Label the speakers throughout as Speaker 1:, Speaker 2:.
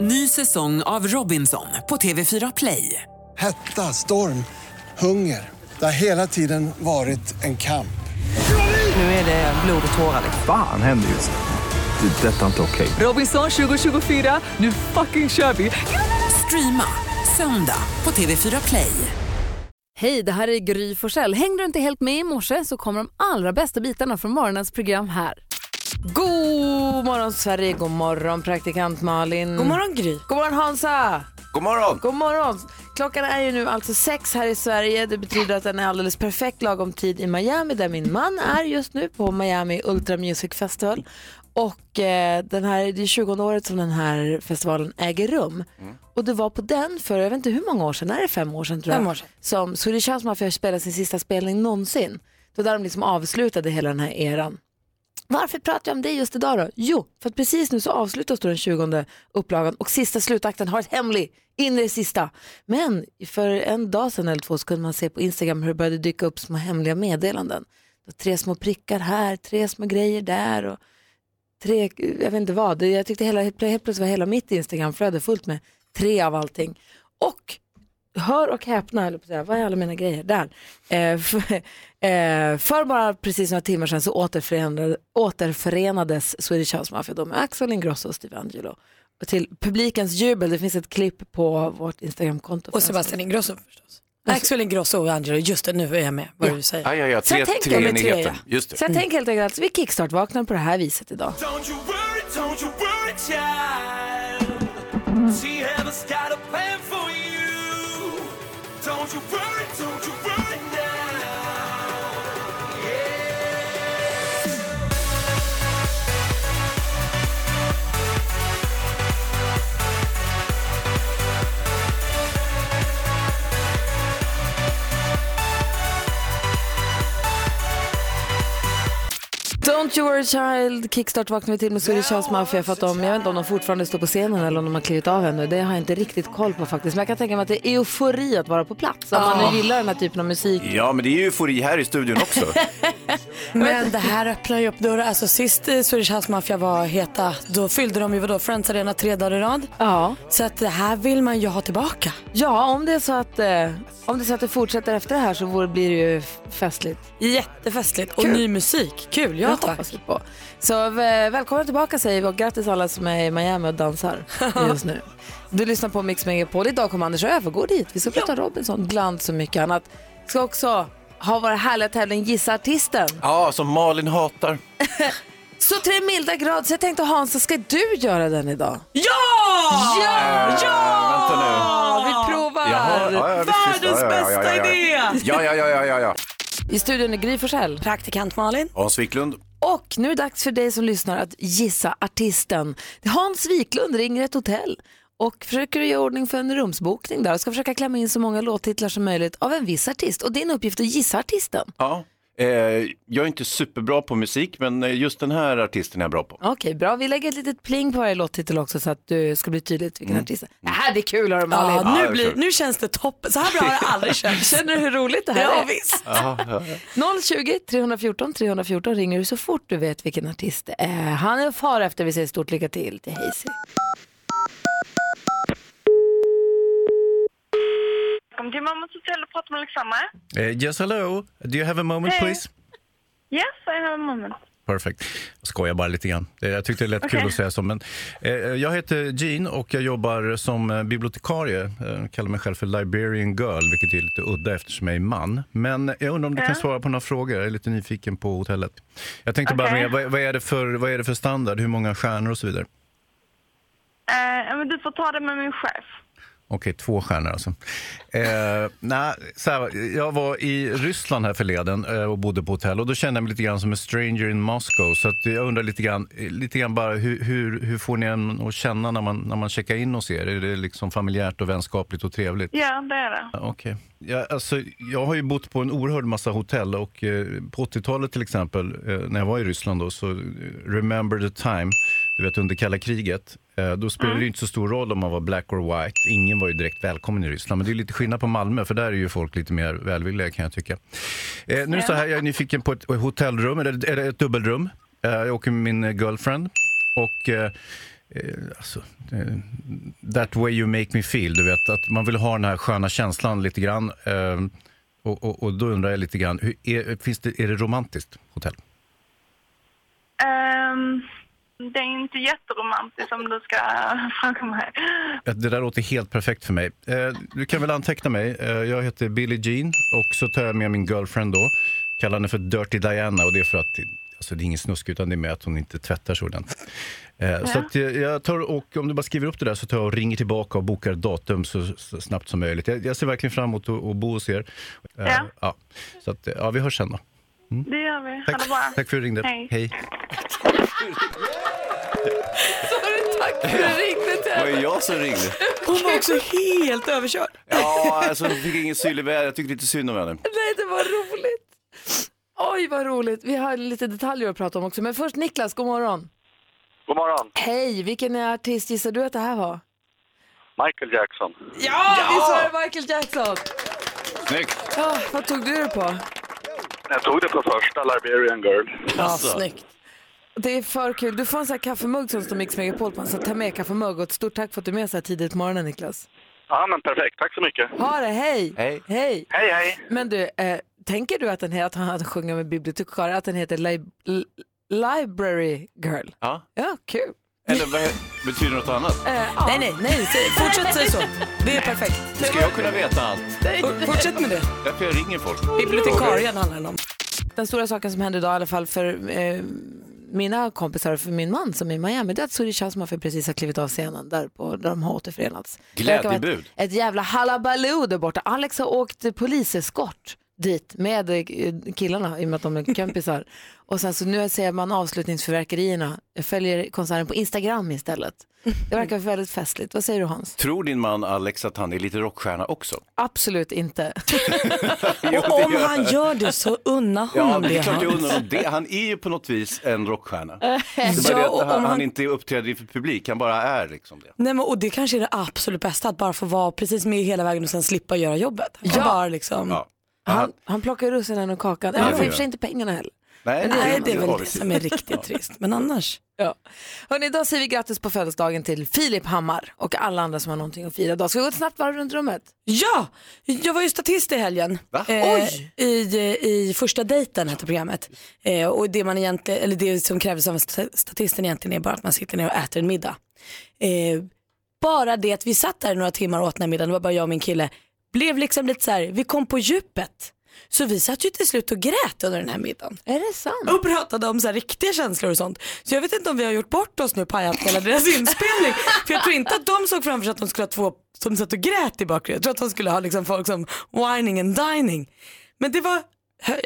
Speaker 1: Ny säsong av Robinson på TV4 Play.
Speaker 2: Hetta, storm, hunger. Det har hela tiden varit en kamp.
Speaker 1: Nu är det blod och tårar.
Speaker 3: Fan händer just nu. Det. är Detta är inte okej.
Speaker 1: Robinson 2024, nu fucking kör vi! Streama söndag på TV4 Play.
Speaker 4: Hej, det här är Gry Forssell. Hängde du inte helt med i morse så kommer de allra bästa bitarna från morgonens program här.
Speaker 5: God morgon Sverige, god morgon praktikant Malin. God morgon Gry. God morgon Hansa.
Speaker 6: God morgon!
Speaker 5: God morgon. Klockan är ju nu alltså sex här i Sverige. Det betyder att den är alldeles perfekt lagom tid i Miami där min man är just nu på Miami Ultra Music Festival. Och eh, den här, det är 20 året som den här festivalen äger rum. Och det var på den för, jag vet inte hur många år sedan, är det fem år sedan tror jag?
Speaker 7: Fem år sedan.
Speaker 5: Som Swedish House Mafia spelade sin sista spelning någonsin. Det var där de liksom avslutade hela den här eran. Varför pratar jag om det just idag då? Jo, för att precis nu så avslutas då den 20 upplagan och sista slutakten har varit hemlig in i det sista. Men för en dag sedan eller två så kunde man se på Instagram hur det började dyka upp små hemliga meddelanden. Det var tre små prickar här, tre små grejer där och tre, jag vet inte vad. Det- Jag tyckte hela, helt plötsligt var hela mitt Instagramflöde fullt med tre av allting. Och hör och häpna, höll jag på att säga, vad är alla mina grejer? Där. Eh, för, eh, för bara precis några timmar sedan så återförenade, återförenades Swedish House Mafia då med Axel Ingrosso och Steve Angelo. Och till publikens jubel, det finns ett klipp på vårt Instagramkonto.
Speaker 7: Och Sebastian Ingrosso förstås. Axel Ingrosso och Angelo, just det, nu är jag med vad du säger.
Speaker 6: Ja, ja, ja,
Speaker 5: Så
Speaker 6: tre,
Speaker 5: jag tänker-
Speaker 6: tre
Speaker 5: Ja, men tre,
Speaker 6: enigheten.
Speaker 5: ja.
Speaker 6: Just det.
Speaker 5: Så jag tänker helt enkelt att vi kickstart-vaknar på det här viset idag.
Speaker 8: Don't you worry, don't you worry, child. She has got a plan for you. Don't you worry, don't you worry now.
Speaker 5: Don't you worry child, kickstart vaknar vi till med Swedish House Mafia för att de, jag vet inte om de fortfarande står på scenen eller om de har klivit av ännu. Det har jag inte riktigt koll på faktiskt. Men jag kan tänka mig att det är eufori att vara på plats om man nu gillar den här typen av musik.
Speaker 6: Ja, men det är ju eufori här i studion också.
Speaker 7: Men det här öppnar ju upp dörrar. Alltså sist eh, Swedish House Mafia var heta, då fyllde de ju vadå, Friends Arena tre dagar i rad.
Speaker 5: Ja.
Speaker 7: Så att det här vill man ju ha tillbaka.
Speaker 5: Ja, om det är så att, eh, om det, är så att det fortsätter efter det här så vore, blir det ju f- festligt.
Speaker 7: Jättefestligt och ny musik. Kul, ja
Speaker 5: Jag
Speaker 7: tack.
Speaker 5: hoppas vi på. Så eh, välkomna tillbaka säger vi och grattis alla som är i Miami och dansar just nu. Du lyssnar på Mix Megapol. Idag kommer Anders Öfvergård dit. Vi ska prata om Robinson, glans och mycket annat. Vi ska också ha vår härliga tävling Gissa Artisten.
Speaker 6: Ja, som Malin hatar.
Speaker 5: Så till den milda grad så jag tänkte Hans, ska du göra den idag?
Speaker 7: Ja!
Speaker 5: Ja!
Speaker 6: Äh, vänta nu.
Speaker 5: Vi provar!
Speaker 6: Jaha, ja, ja, visst, visst. Ja, ja, ja, ja, ja. Ja, ja, ja, ja, ja, ja.
Speaker 5: I studion är Gry Forssell.
Speaker 7: Praktikant Malin.
Speaker 6: Hans Wiklund.
Speaker 5: Och nu är det dags för dig som lyssnar att gissa artisten. Hans Wiklund ringer ett hotell och försöker göra i ordning för en rumsbokning där och ska försöka klämma in så många låttitlar som möjligt av en viss artist. Och din uppgift är att gissa artisten.
Speaker 6: Ja. Eh, jag är inte superbra på musik, men eh, just den här artisten är jag bra på.
Speaker 5: Okej, bra. Vi lägger ett litet pling på varje låttitel också så att du ska bli tydligt vilken artist det är. Det här blir kul, hör du Malin.
Speaker 7: Ja,
Speaker 6: Ja, det
Speaker 7: nu,
Speaker 6: är
Speaker 7: blir,
Speaker 6: kul.
Speaker 7: nu känns det toppen. Så här bra har det aldrig känts.
Speaker 5: Känner du hur roligt det här
Speaker 7: Ja,
Speaker 5: är?
Speaker 7: visst.
Speaker 5: 020 314 314 ringer du så fort du vet vilken artist det är. Han är far efter vi säger stort lycka till till Hazy.
Speaker 9: Välkommen till Mammas Hotell och prata med Alexandra.
Speaker 10: Eh, yes, hello. Do you have a moment,
Speaker 9: Hey.
Speaker 10: please?
Speaker 9: Yes, I have a moment.
Speaker 10: Perfect. Jag skojar bara lite grann. Det- Jag tyckte det lät kul
Speaker 9: Okej.
Speaker 10: att säga så. Men, eh, jag heter Jean och jag jobbar som eh, bibliotekarie. Eh, kallar mig själv för Liberian Girl, vilket är lite udda eftersom jag är man. Men jag undrar om du kan svara på några frågor. Jag är lite nyfiken på hotellet. Jag tänkte bara
Speaker 9: Okej.
Speaker 10: med, vad, vad, är det för, vad är det för standard? Hur många stjärnor och så vidare?
Speaker 9: Eh, ja, men du får ta det med min chef.
Speaker 10: Okej, två stjärnor alltså. Eh, nej, så här, jag var i Ryssland här förleden eh, och bodde på hotell och då kände jag mig lite grann som en stranger in Moscow. Så att jag undrar lite grann, eh, lite grann bara hur, hur, hur får ni en att känna när man, när man checkar in hos er? Är det liksom familjärt och vänskapligt och trevligt?
Speaker 9: Ja, det är det.
Speaker 10: Ja, Okej. Ja, alltså, jag har ju bott på en oerhörd massa hotell och eh, på 80-talet till exempel, eh, när jag var i Ryssland då, så eh, remember the time, du vet under kalla kriget, eh, då spelade det ju inte så stor roll om man var black or white. Ingen var ju direkt välkommen i Ryssland, men det är lite skillnad på Malmö, för där är ju folk lite mer välvilliga kan jag tycka. Eh, nu så här, jag är nyfiken på ett hotellrum, eller, eller ett dubbelrum. Eh, jag åker med min eh, girlfriend och eh,
Speaker 11: eh, alltså, eh, That way you make me feel, du vet. Att man vill ha den här sköna känslan lite grann. Eh, och, och, och då undrar jag lite grann, hur, är, finns det, är det romantiskt hotell?
Speaker 9: Ehm, det är inte jätteromantiskt om du ska fråga mig.
Speaker 11: Ja, Det där låter helt perfekt för mig. Eh, du kan väl anteckna mig. Eh, jag heter Billie Jean och så tar jag med min girlfriend då. Kallar henne för Dirty Diana och det är för att alltså, det är ingen snusk utan det är med att hon inte tvättar sig ordentligt. Eh, Så att eh, jag tar och om du bara skriver upp det där så tar jag och ringer tillbaka och bokar datum så, så snabbt som möjligt. Jag, jag ser verkligen fram emot att att bo hos er. Eh,
Speaker 9: Ja.
Speaker 11: ja. Så att, eh, ja, vi hörs sen då.
Speaker 9: Det gör vi. Ha
Speaker 11: Tack,
Speaker 9: det bra.
Speaker 11: tack för att du ringde.
Speaker 9: Hej.
Speaker 11: Hej.
Speaker 5: Tack för att du ringde
Speaker 10: Det var ju jag som ringde.
Speaker 5: Hon var också helt överkörd.
Speaker 10: Ja, alltså jag fick ingen syl i vädret. Jag tyckte lite synd om henne.
Speaker 5: Nej, det var roligt. Oj, vad roligt. Vi har lite detaljer att prata om också. Men först Niklas, god morgon.
Speaker 12: God morgon.
Speaker 5: Hej, vilken artist gissar du att det här var?
Speaker 12: Michael Jackson.
Speaker 5: Ja, visst var det Michael Jackson?
Speaker 12: Snyggt.
Speaker 5: Ja, vad tog du det på?
Speaker 12: Jag tog det på första, Liberian Girl.
Speaker 5: Ja, snyggt. Det är för kul. Du får en sån här kaffemugg som står Mix Megapol på. Så ta med kaffemugg och ett stort tack för att du är med så här tidigt på morgonen Niklas.
Speaker 12: Ja, men perfekt. Tack så mycket.
Speaker 5: Ha det, hej!
Speaker 12: Hej.
Speaker 5: Hej!
Speaker 12: Hej, hej!
Speaker 5: Men du, eh, tänker du att den här, att han sjunger med bibliotekarie, att den heter Lib- L- Library Girl?
Speaker 10: Ja.
Speaker 5: Ja, kul.
Speaker 10: Eller vad betyder det något annat?
Speaker 5: Nej, nej, nej,
Speaker 7: fortsätt säga så. Det är perfekt.
Speaker 10: Hur ska jag kunna veta allt?
Speaker 7: F- Fortsätt med det.
Speaker 10: Därför jag ringer folk.
Speaker 7: Bibliotekarien handlar den om.
Speaker 5: Den stora saken som händer idag i alla fall för eh, mina kompisar och för min man som är i Miami, det är att Suri Chasmaffe precis har klivit av scenen där, på, där de har återförenats. Det verkar vara ett-
Speaker 10: Glädjebud.
Speaker 5: Ett jävla halabaloo där borta. Alex har åkt poliseskort dit med eh, killarna i och med att de är kompisar. och sen så nu ser man avslutningsförverkerierna. Jag följer konserten på Instagram istället. Det verkar väldigt festligt. Vad säger du Hans?
Speaker 10: Tror din man Alex att han är lite rockstjärna också?
Speaker 5: Absolut inte.
Speaker 7: Och om han gör det så unna honom
Speaker 10: Ja, det är klart jag
Speaker 7: Hans.
Speaker 10: undrar om det. Han är ju på något vis en rockstjärna. Det är bara
Speaker 7: Ja,
Speaker 10: det att
Speaker 7: och om
Speaker 10: han,
Speaker 7: han-
Speaker 10: han inte uppträder inför publik, han bara är liksom det.
Speaker 7: Nej, men, och det kanske är det absolut bästa, att bara få vara precis med hela vägen och sen slippa göra jobbet. Ja. Bara liksom...
Speaker 10: Ja.
Speaker 5: Han, han plockar russinen ur kakan.
Speaker 7: Ja,
Speaker 5: Han får
Speaker 7: det
Speaker 5: i och för sig
Speaker 7: gör.
Speaker 5: inte pengarna heller.
Speaker 10: Nej,
Speaker 5: Men det är-
Speaker 7: Nej, det är väl det
Speaker 5: avigt.
Speaker 7: som är riktigt trist. Men annars.
Speaker 5: Ja. Hörrni, idag säger vi grattis på födelsedagen till Filip Hammar och alla andra som har någonting att fira idag. Ska vi gå ett snabbt varv runt rummet?
Speaker 7: Ja, jag var ju statist i helgen. Eh,
Speaker 5: Oj!
Speaker 7: I, I första dejten hette programmet. Eh, och det, man egentligen, eller det som krävs av sta- statisten egentligen är bara att man sitter ner och äter en middag. Eh, bara det att vi satt där i några timmar och åt den här middagen, det var bara jag och min kille, blev liksom lite så här, vi kom på djupet. Så vi satt ju till slut och grät under den här middagen.
Speaker 5: Är det sant?
Speaker 7: Och pratade om så här riktiga känslor och sånt. Så jag vet inte om vi har gjort bort oss nu, pajat hela deras inspelning. För jag tror inte att de såg framför sig att de skulle ha två som satt och grät i bakgrunden. Jag tror att de skulle ha liksom folk som whining and dining. Men det var,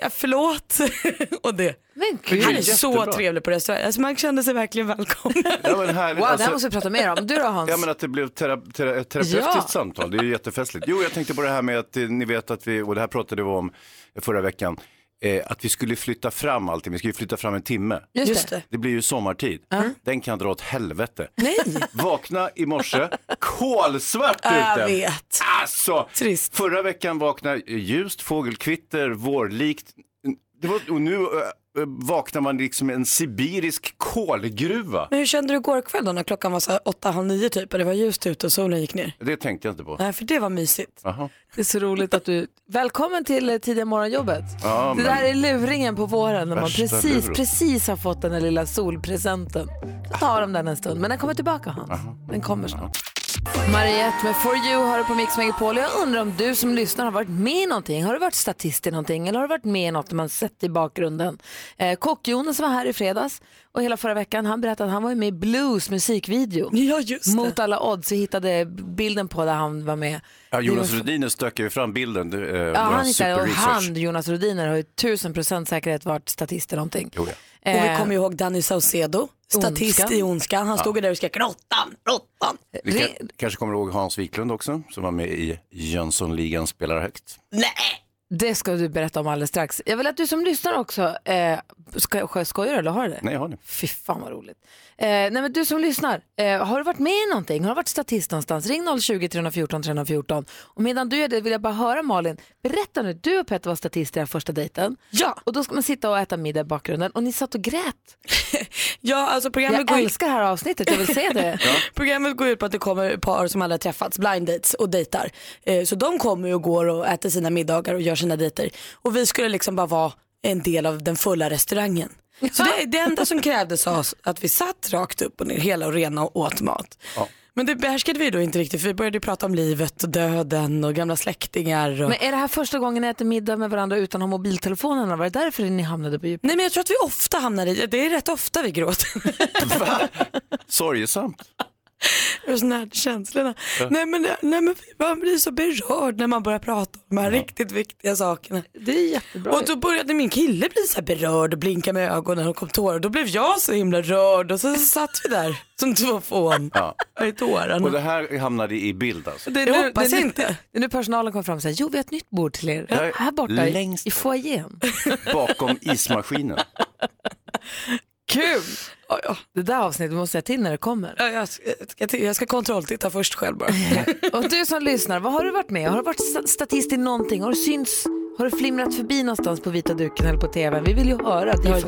Speaker 7: ja, förlåt och det.
Speaker 5: Men
Speaker 10: gud.
Speaker 7: Han är så
Speaker 10: Jättebra.
Speaker 7: trevlig på restaurang. Alltså man kände sig verkligen välkommen.
Speaker 10: Ja, men alltså- härligt.
Speaker 5: Wow, det här måste vi prata mer om. Du då Hans?
Speaker 7: Alltså-
Speaker 10: Ja, men att det blev tera- tera- ett terapeutiskt
Speaker 5: Ja.
Speaker 10: samtal, det är ju jättefestligt. Jo, jag tänkte på det här med att eh, ni vet att vi, och det här pratade vi om förra veckan, eh, att vi skulle flytta fram allting, vi skulle flytta fram en timme.
Speaker 5: Just Just det. det.
Speaker 10: blir ju sommartid, den kan dra åt helvete.
Speaker 7: Nej.
Speaker 10: Vakna i morse, kolsvart ute.
Speaker 7: Jag vet.
Speaker 10: Alltså, Trist. förra veckan vaknade eh, ljust, fågelkvitter, vårlikt. Det var, och nu eh, eh, vaknar man liksom i en sibirisk kolgruva.
Speaker 7: Men hur kände du igår kväll då när klockan var så här åtta, halv nio typ och det var ljust ute och solen gick ner?
Speaker 10: Det tänkte jag inte på.
Speaker 7: Nej, för det var mysigt.
Speaker 10: Jaha.
Speaker 5: Det är så roligt att du... Välkommen till eh, tidiga morgonjobbet.
Speaker 10: Ja,
Speaker 5: det
Speaker 10: men-
Speaker 5: där är luringen på våren när man
Speaker 10: Värsta
Speaker 5: precis,
Speaker 10: luren.
Speaker 5: precis har fått den där lilla solpresenten. Då tar de den en stund, men den kommer tillbaka Hans. Den kommer snart. Mariette med For You har du på Mix Megapol. Jag undrar om du som lyssnar har varit med i någonting. Har du varit statist i någonting eller har du varit med i något man sett i bakgrunden? Eh, Kock-Jonas var här i fredags och hela förra veckan han berättade att han var med i Blues musikvideo.
Speaker 7: Ja, just det.
Speaker 5: Mot alla odds. Vi hittade bilden på där han var med.
Speaker 10: Ja, Jonas
Speaker 5: Det var-
Speaker 10: Rhodiner stökar ju fram bilden. Det, eh,
Speaker 5: Ja,
Speaker 10: vår
Speaker 5: han hittade och
Speaker 10: superresearch.
Speaker 5: han, Jonas Rhodiner, har ju tusen procent säkerhet varit statist i någonting.
Speaker 10: Jo, ja.
Speaker 7: Och vi
Speaker 5: Eh,
Speaker 7: kommer ihåg Danny Saucedo, statist
Speaker 5: Ondskan.
Speaker 7: i Ondskan. Han stod ju där och skrek råttan, råttan.
Speaker 10: Ni kan, kanske kommer ihåg Hans Wiklund också, som var med i Jönssonligan spelar högt.
Speaker 5: Det ska du berätta om alldeles strax. Jag vill att du som lyssnar också eh, Ska, ska, skojar du eller har du det?
Speaker 10: Nej, jag har det.
Speaker 5: Fy fan vad roligt. Eh, nej men du som lyssnar, eh, har du varit med i någonting? Har du varit statist någonstans? Ring 020-314 314. Och medan du gör det vill jag bara höra Malin, berätta nu, du och Petter var statister i den här första dejten.
Speaker 7: Ja.
Speaker 5: Och då ska man sitta och äta middag i bakgrunden och ni satt och grät.
Speaker 7: Ja, alltså programmet
Speaker 5: jag
Speaker 7: går ju-
Speaker 5: älskar det här avsnittet, jag vill se det.
Speaker 7: Programmet går ut på att det kommer par som aldrig har träffats, blind dates och dejtar. Eh, Så de kommer och går och äter sina middagar och gör sina dejter. Och vi skulle liksom bara vara en del av den fulla restaurangen. Så det, det enda som krävdes av oss att vi satt rakt upp och ner hela och rena och åt mat. Men det behärskade vi då inte riktigt för vi började ju prata om livet och döden och gamla släktingar. Och...
Speaker 5: Men är det här första gången ni äter middag med varandra utan att ha mobiltelefonerna? Var det därför ni hamnade på djupet?
Speaker 7: Nej men jag tror att vi ofta hamnar i, det är rätt ofta vi gråter.
Speaker 10: Sorgesamt.
Speaker 7: Och sådana här känslorna.
Speaker 10: Ja.
Speaker 7: Nej, men, nej men man blir så berörd när man börjar prata om de här riktigt viktiga sakerna.
Speaker 5: Det är jättebra.
Speaker 7: Och då började min kille bli så här berörd och blinka med ögonen och kom tårar. Då blev jag så himla rörd och sen så satt vi där som två fån.
Speaker 10: Ja.
Speaker 7: I tårarna.
Speaker 10: Och det här hamnade i bild alltså.
Speaker 7: Det hoppas
Speaker 5: det, är nu-
Speaker 7: inte.
Speaker 5: Det är nu personalen kommer fram och säger, jo vi har ett nytt bord till er.
Speaker 10: Ja,
Speaker 5: Här borta i-
Speaker 10: längst
Speaker 5: i foajén.
Speaker 10: Bakom ismaskinen.
Speaker 5: Kul! Det där avsnittet måste jag till när det kommer.
Speaker 7: Ja, jag, ska, jag ska- jag ska kontrolltitta först själv bara.
Speaker 5: Och du som lyssnar, vad har du varit med om? Har du varit sta- statist i någonting? Har du synts? Har du flimrat förbi någonstans på vita duken eller på tvn? Vi vill ju höra. Det är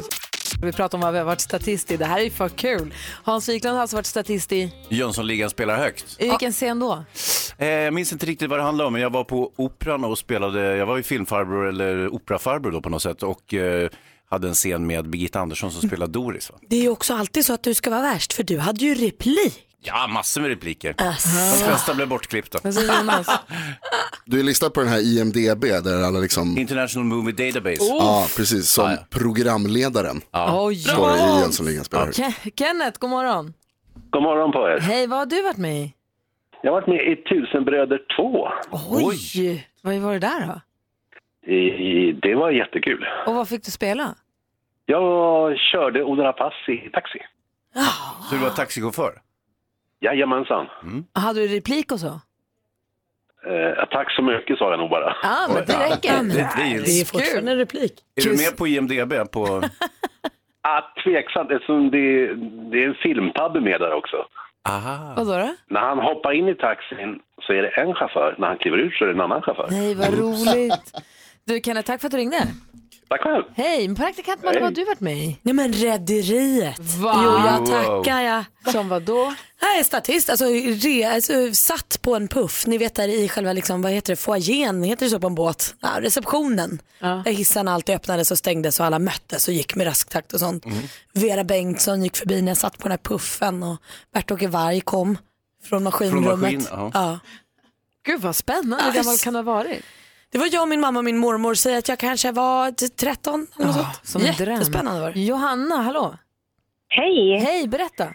Speaker 5: vi pratar om vad vi har varit statist i. Det här är ju för kul. Hans Wiklund har alltså varit statist i,
Speaker 10: Jönssonligan spelar högt.
Speaker 5: i vilken scen då?
Speaker 10: Eh, jag minns inte riktigt vad det handlade om, men jag var på operan och spelade, jag var ju filmfarbror eller operafarbror då på något sätt och eh, hade en scen med Birgitta Andersson som spelade Doris. Va?
Speaker 7: Det är ju också alltid så att du ska vara värst för du hade ju replik.
Speaker 10: Ja, massor med repliker.
Speaker 7: Asså.
Speaker 10: De flesta blev bortklippta.
Speaker 13: Du är listad på den här IMDB där alla liksom...
Speaker 10: International Movie Database.
Speaker 13: Ja, precis. Som programledaren.
Speaker 5: Ja. Oj.
Speaker 13: Står det i Jönssonligan spelar.
Speaker 5: Ke- Kenneth, god morgon.
Speaker 14: God morgon på er.
Speaker 5: Hej, vad har du varit med i?
Speaker 14: Jag har varit med i Tusenbröder 2.
Speaker 5: Oj! Vad var det där då?
Speaker 14: I, det var jättekul.
Speaker 5: Och vad fick du spela?
Speaker 14: Jag körde Ola Pass i taxi.
Speaker 10: Så du var taxichaufför?
Speaker 14: Jajamensan.
Speaker 5: Hade du replik och så?
Speaker 14: Eh, tack så mycket sa jag nog bara.
Speaker 5: Ja, men det räcker.
Speaker 10: Det, det, det,
Speaker 7: Det är fortfarande en replik.
Speaker 10: Är du med på IMDB? På...
Speaker 14: Ah, tveksamt eftersom det, det är en filmtabbe med där också.
Speaker 10: Aha.
Speaker 5: Vadå då?
Speaker 14: När han hoppar in i taxin så är det en chaufför. När han kliver ut så är det en annan chaufför.
Speaker 5: Nej, vad roligt. Du Kenneth, tack för att du ringde.
Speaker 14: Tack själv.
Speaker 5: Hej, praktikant
Speaker 14: Hej.
Speaker 5: Malin, vad har du varit med i?
Speaker 7: Nej men Rederiet.
Speaker 5: Va?
Speaker 7: Jo, jag tackar jag.
Speaker 5: Som vad då?
Speaker 7: Nej, statist, alltså, re, alltså satt på en puff, ni vet där i själva, liksom, vad heter det, foajén, heter det så på en båt? Ja, receptionen. Där hissarna alltid öppnades och stängdes och alla möttes och gick med rask takt och sånt.
Speaker 10: Mm.
Speaker 7: Vera Bengtsson gick förbi när jag satt på den här puffen och Bert-Åke Varg kom från maskinrummet.
Speaker 5: ja.
Speaker 7: ja.
Speaker 5: Gud vad spännande, hur gammal kan du ha varit?
Speaker 7: Det var jag, min mamma och min mormor, säger att jag kanske var t- 13 eller något sånt.
Speaker 5: Som en dröm.
Speaker 7: Jättespännande var det.
Speaker 5: Johanna, hallå?
Speaker 15: Hej!
Speaker 5: Hej, berätta.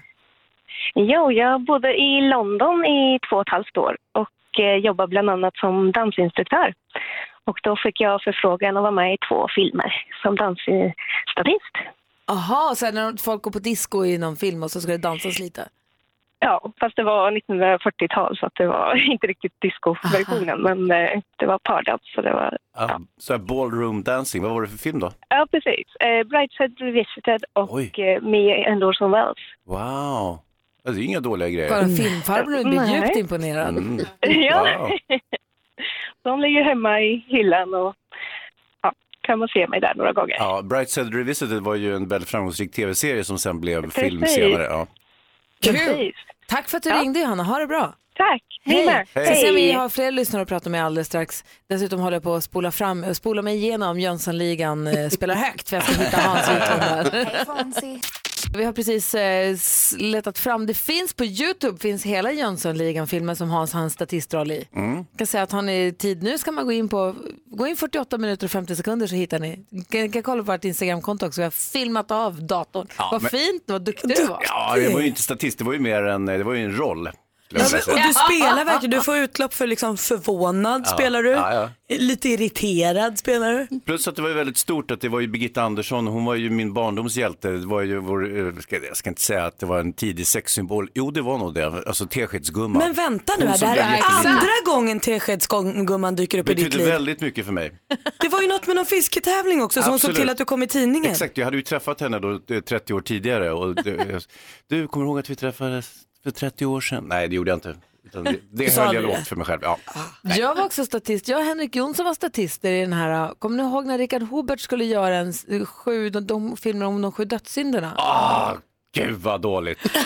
Speaker 15: Jo, jag bodde i London i två och ett halvt år och eh, jobbade bland annat som dansinstruktör. Och då fick jag förfrågan att vara med i två filmer som dansstatist.
Speaker 5: Aha, så här när folk går på disco i någon film och så ska det dansas lite.
Speaker 15: Ja, fast det var 1940-tal så att det var inte riktigt discoversionen men eh, det var pardans så det var...
Speaker 10: Ah, så här ballroom dancing, vad var det för film då?
Speaker 15: Ja, precis. Eh, Brightside Revisited och eh, Me and Orson Welles.
Speaker 10: Wow, Ja, det är ju inga dåliga grejer.
Speaker 5: Bara filmfarbror blir
Speaker 15: Nej.
Speaker 5: djupt imponerad.
Speaker 10: Mm.
Speaker 15: Ja.
Speaker 10: Wow.
Speaker 15: De ligger hemma i hyllan och ja, kan man se mig där några gånger.
Speaker 10: Ja, Brightside Revisited var ju en väldigt framgångsrik tv-serie som sen blev film
Speaker 15: Precis.
Speaker 10: senare. Ja.
Speaker 5: Kul! Tack för att du ringde Johanna, ha det bra.
Speaker 15: Tack, ni
Speaker 5: Hej.
Speaker 15: med.
Speaker 5: Hej. Så ser vi,
Speaker 15: Hej.
Speaker 5: jag har fler lyssnare att prata med alldeles strax. Dessutom håller jag på att spola, fram, eh, spola mig igenom Jönssonligan eh, spelar högt för jag ska hitta Hans Wiklund där. Vi har precis eh, s- letat fram, det finns på Youtube, finns hela Jönssonligan-filmen som Hans hans statistroll i.
Speaker 10: Mm.
Speaker 5: Jag kan säga att har ni tid nu ska man gå in på, gå in 48 minuter och 50 sekunder så hittar ni. Ni kan, kan kolla på vårt Instagramkonto också, vi har filmat av datorn.
Speaker 10: Ja,
Speaker 5: vad
Speaker 10: men-
Speaker 5: fint, vad duktig du var.
Speaker 10: Ja, det var ju inte statist, det var ju mer en, det var ju en roll.
Speaker 7: Ja,
Speaker 10: lämnar
Speaker 7: men- och du spelar verkligen, du får utlopp för liksom förvånad
Speaker 10: Ja,
Speaker 7: spelar du,
Speaker 10: ja, ja.
Speaker 7: lite irriterad spelar du.
Speaker 10: Plus att det var ju väldigt stort att det var ju Birgitta Andersson, hon var ju min barndomshjälte. Det var ju vår, eh, ska, jag ska inte säga att det var en tidig sexsymbol, jo det var nog det, alltså teskedsgumman.
Speaker 7: Men vänta nu
Speaker 10: Hon
Speaker 7: här, det
Speaker 10: som
Speaker 7: här
Speaker 10: blev
Speaker 7: är
Speaker 10: jätteliten.
Speaker 7: andra gången Teskedsgumman dyker upp i ditt
Speaker 10: Betydde
Speaker 7: liv.
Speaker 10: väldigt mycket för mig.
Speaker 7: Det var ju något med någon fisketävling också som hon såg
Speaker 10: Absolut.
Speaker 7: till att du kom i tidningen.
Speaker 10: Exakt, jag hade ju träffat henne då eh, 30 år tidigare. Och det, eh, du, kommer du ihåg att vi träffades för 30 år sedan? Nej, det gjorde jag inte. Utan det det
Speaker 5: Sa
Speaker 10: höll jag
Speaker 5: du det?
Speaker 10: lågt för mig själv. Ja.
Speaker 7: Ah.
Speaker 5: Jag var också statist. Jag och Henrik Jonsson var statister i den här. Kommer ni ihåg när Richard Hobert skulle göra en s- sju, de, de filmer om de sju dödssynderna?
Speaker 10: Ah, gud vad dåligt.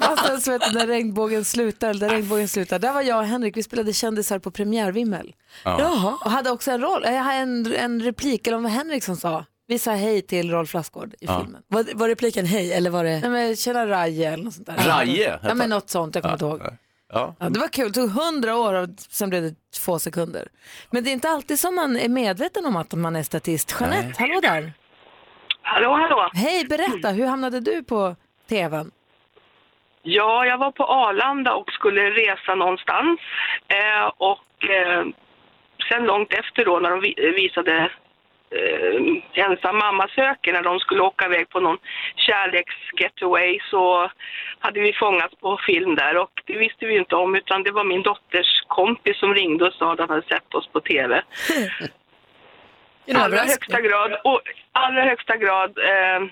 Speaker 5: Alltså, så vet du, när regnbågen slutar, där regnbågen slutar. Där var jag och Henrik, vi spelade kändisar på premiärvimmel.
Speaker 10: Ja.
Speaker 5: Jaha. Och hade också en roll, eh, jag hade en, en replik, eller om det var Henrik som sa. Vi sa hej till Rolf Lassgård i
Speaker 10: Ja.
Speaker 5: filmen. Var, repliken hej eller var det? Nej men tjena Raje eller något sånt där.
Speaker 10: Raje hette
Speaker 5: Ja
Speaker 10: han.
Speaker 5: men något sånt, jag kommer inte ihåg.
Speaker 10: Ja.
Speaker 5: Ja, det var kul, det tog hundra år och sen blev det två sekunder. Men det är inte alltid som man är medveten om att man är statist. Jeanette,
Speaker 10: Nej.
Speaker 5: hallå där.
Speaker 9: Hallå, hallå.
Speaker 5: Hej, berätta, hur hamnade du på tvn?
Speaker 9: Ja, jag var på Arlanda och skulle resa någonstans. Eh, och eh, sen långt efter då när de vi- eh, visade eh, ensam mamma söker, när de skulle åka iväg på någon kärleksgetaway så hade vi fångats på film där och det visste vi ju inte om utan det var min dotters kompis som ringde och sa att han hade sett oss på TV. allra högsta grad, och allra högsta grad eh,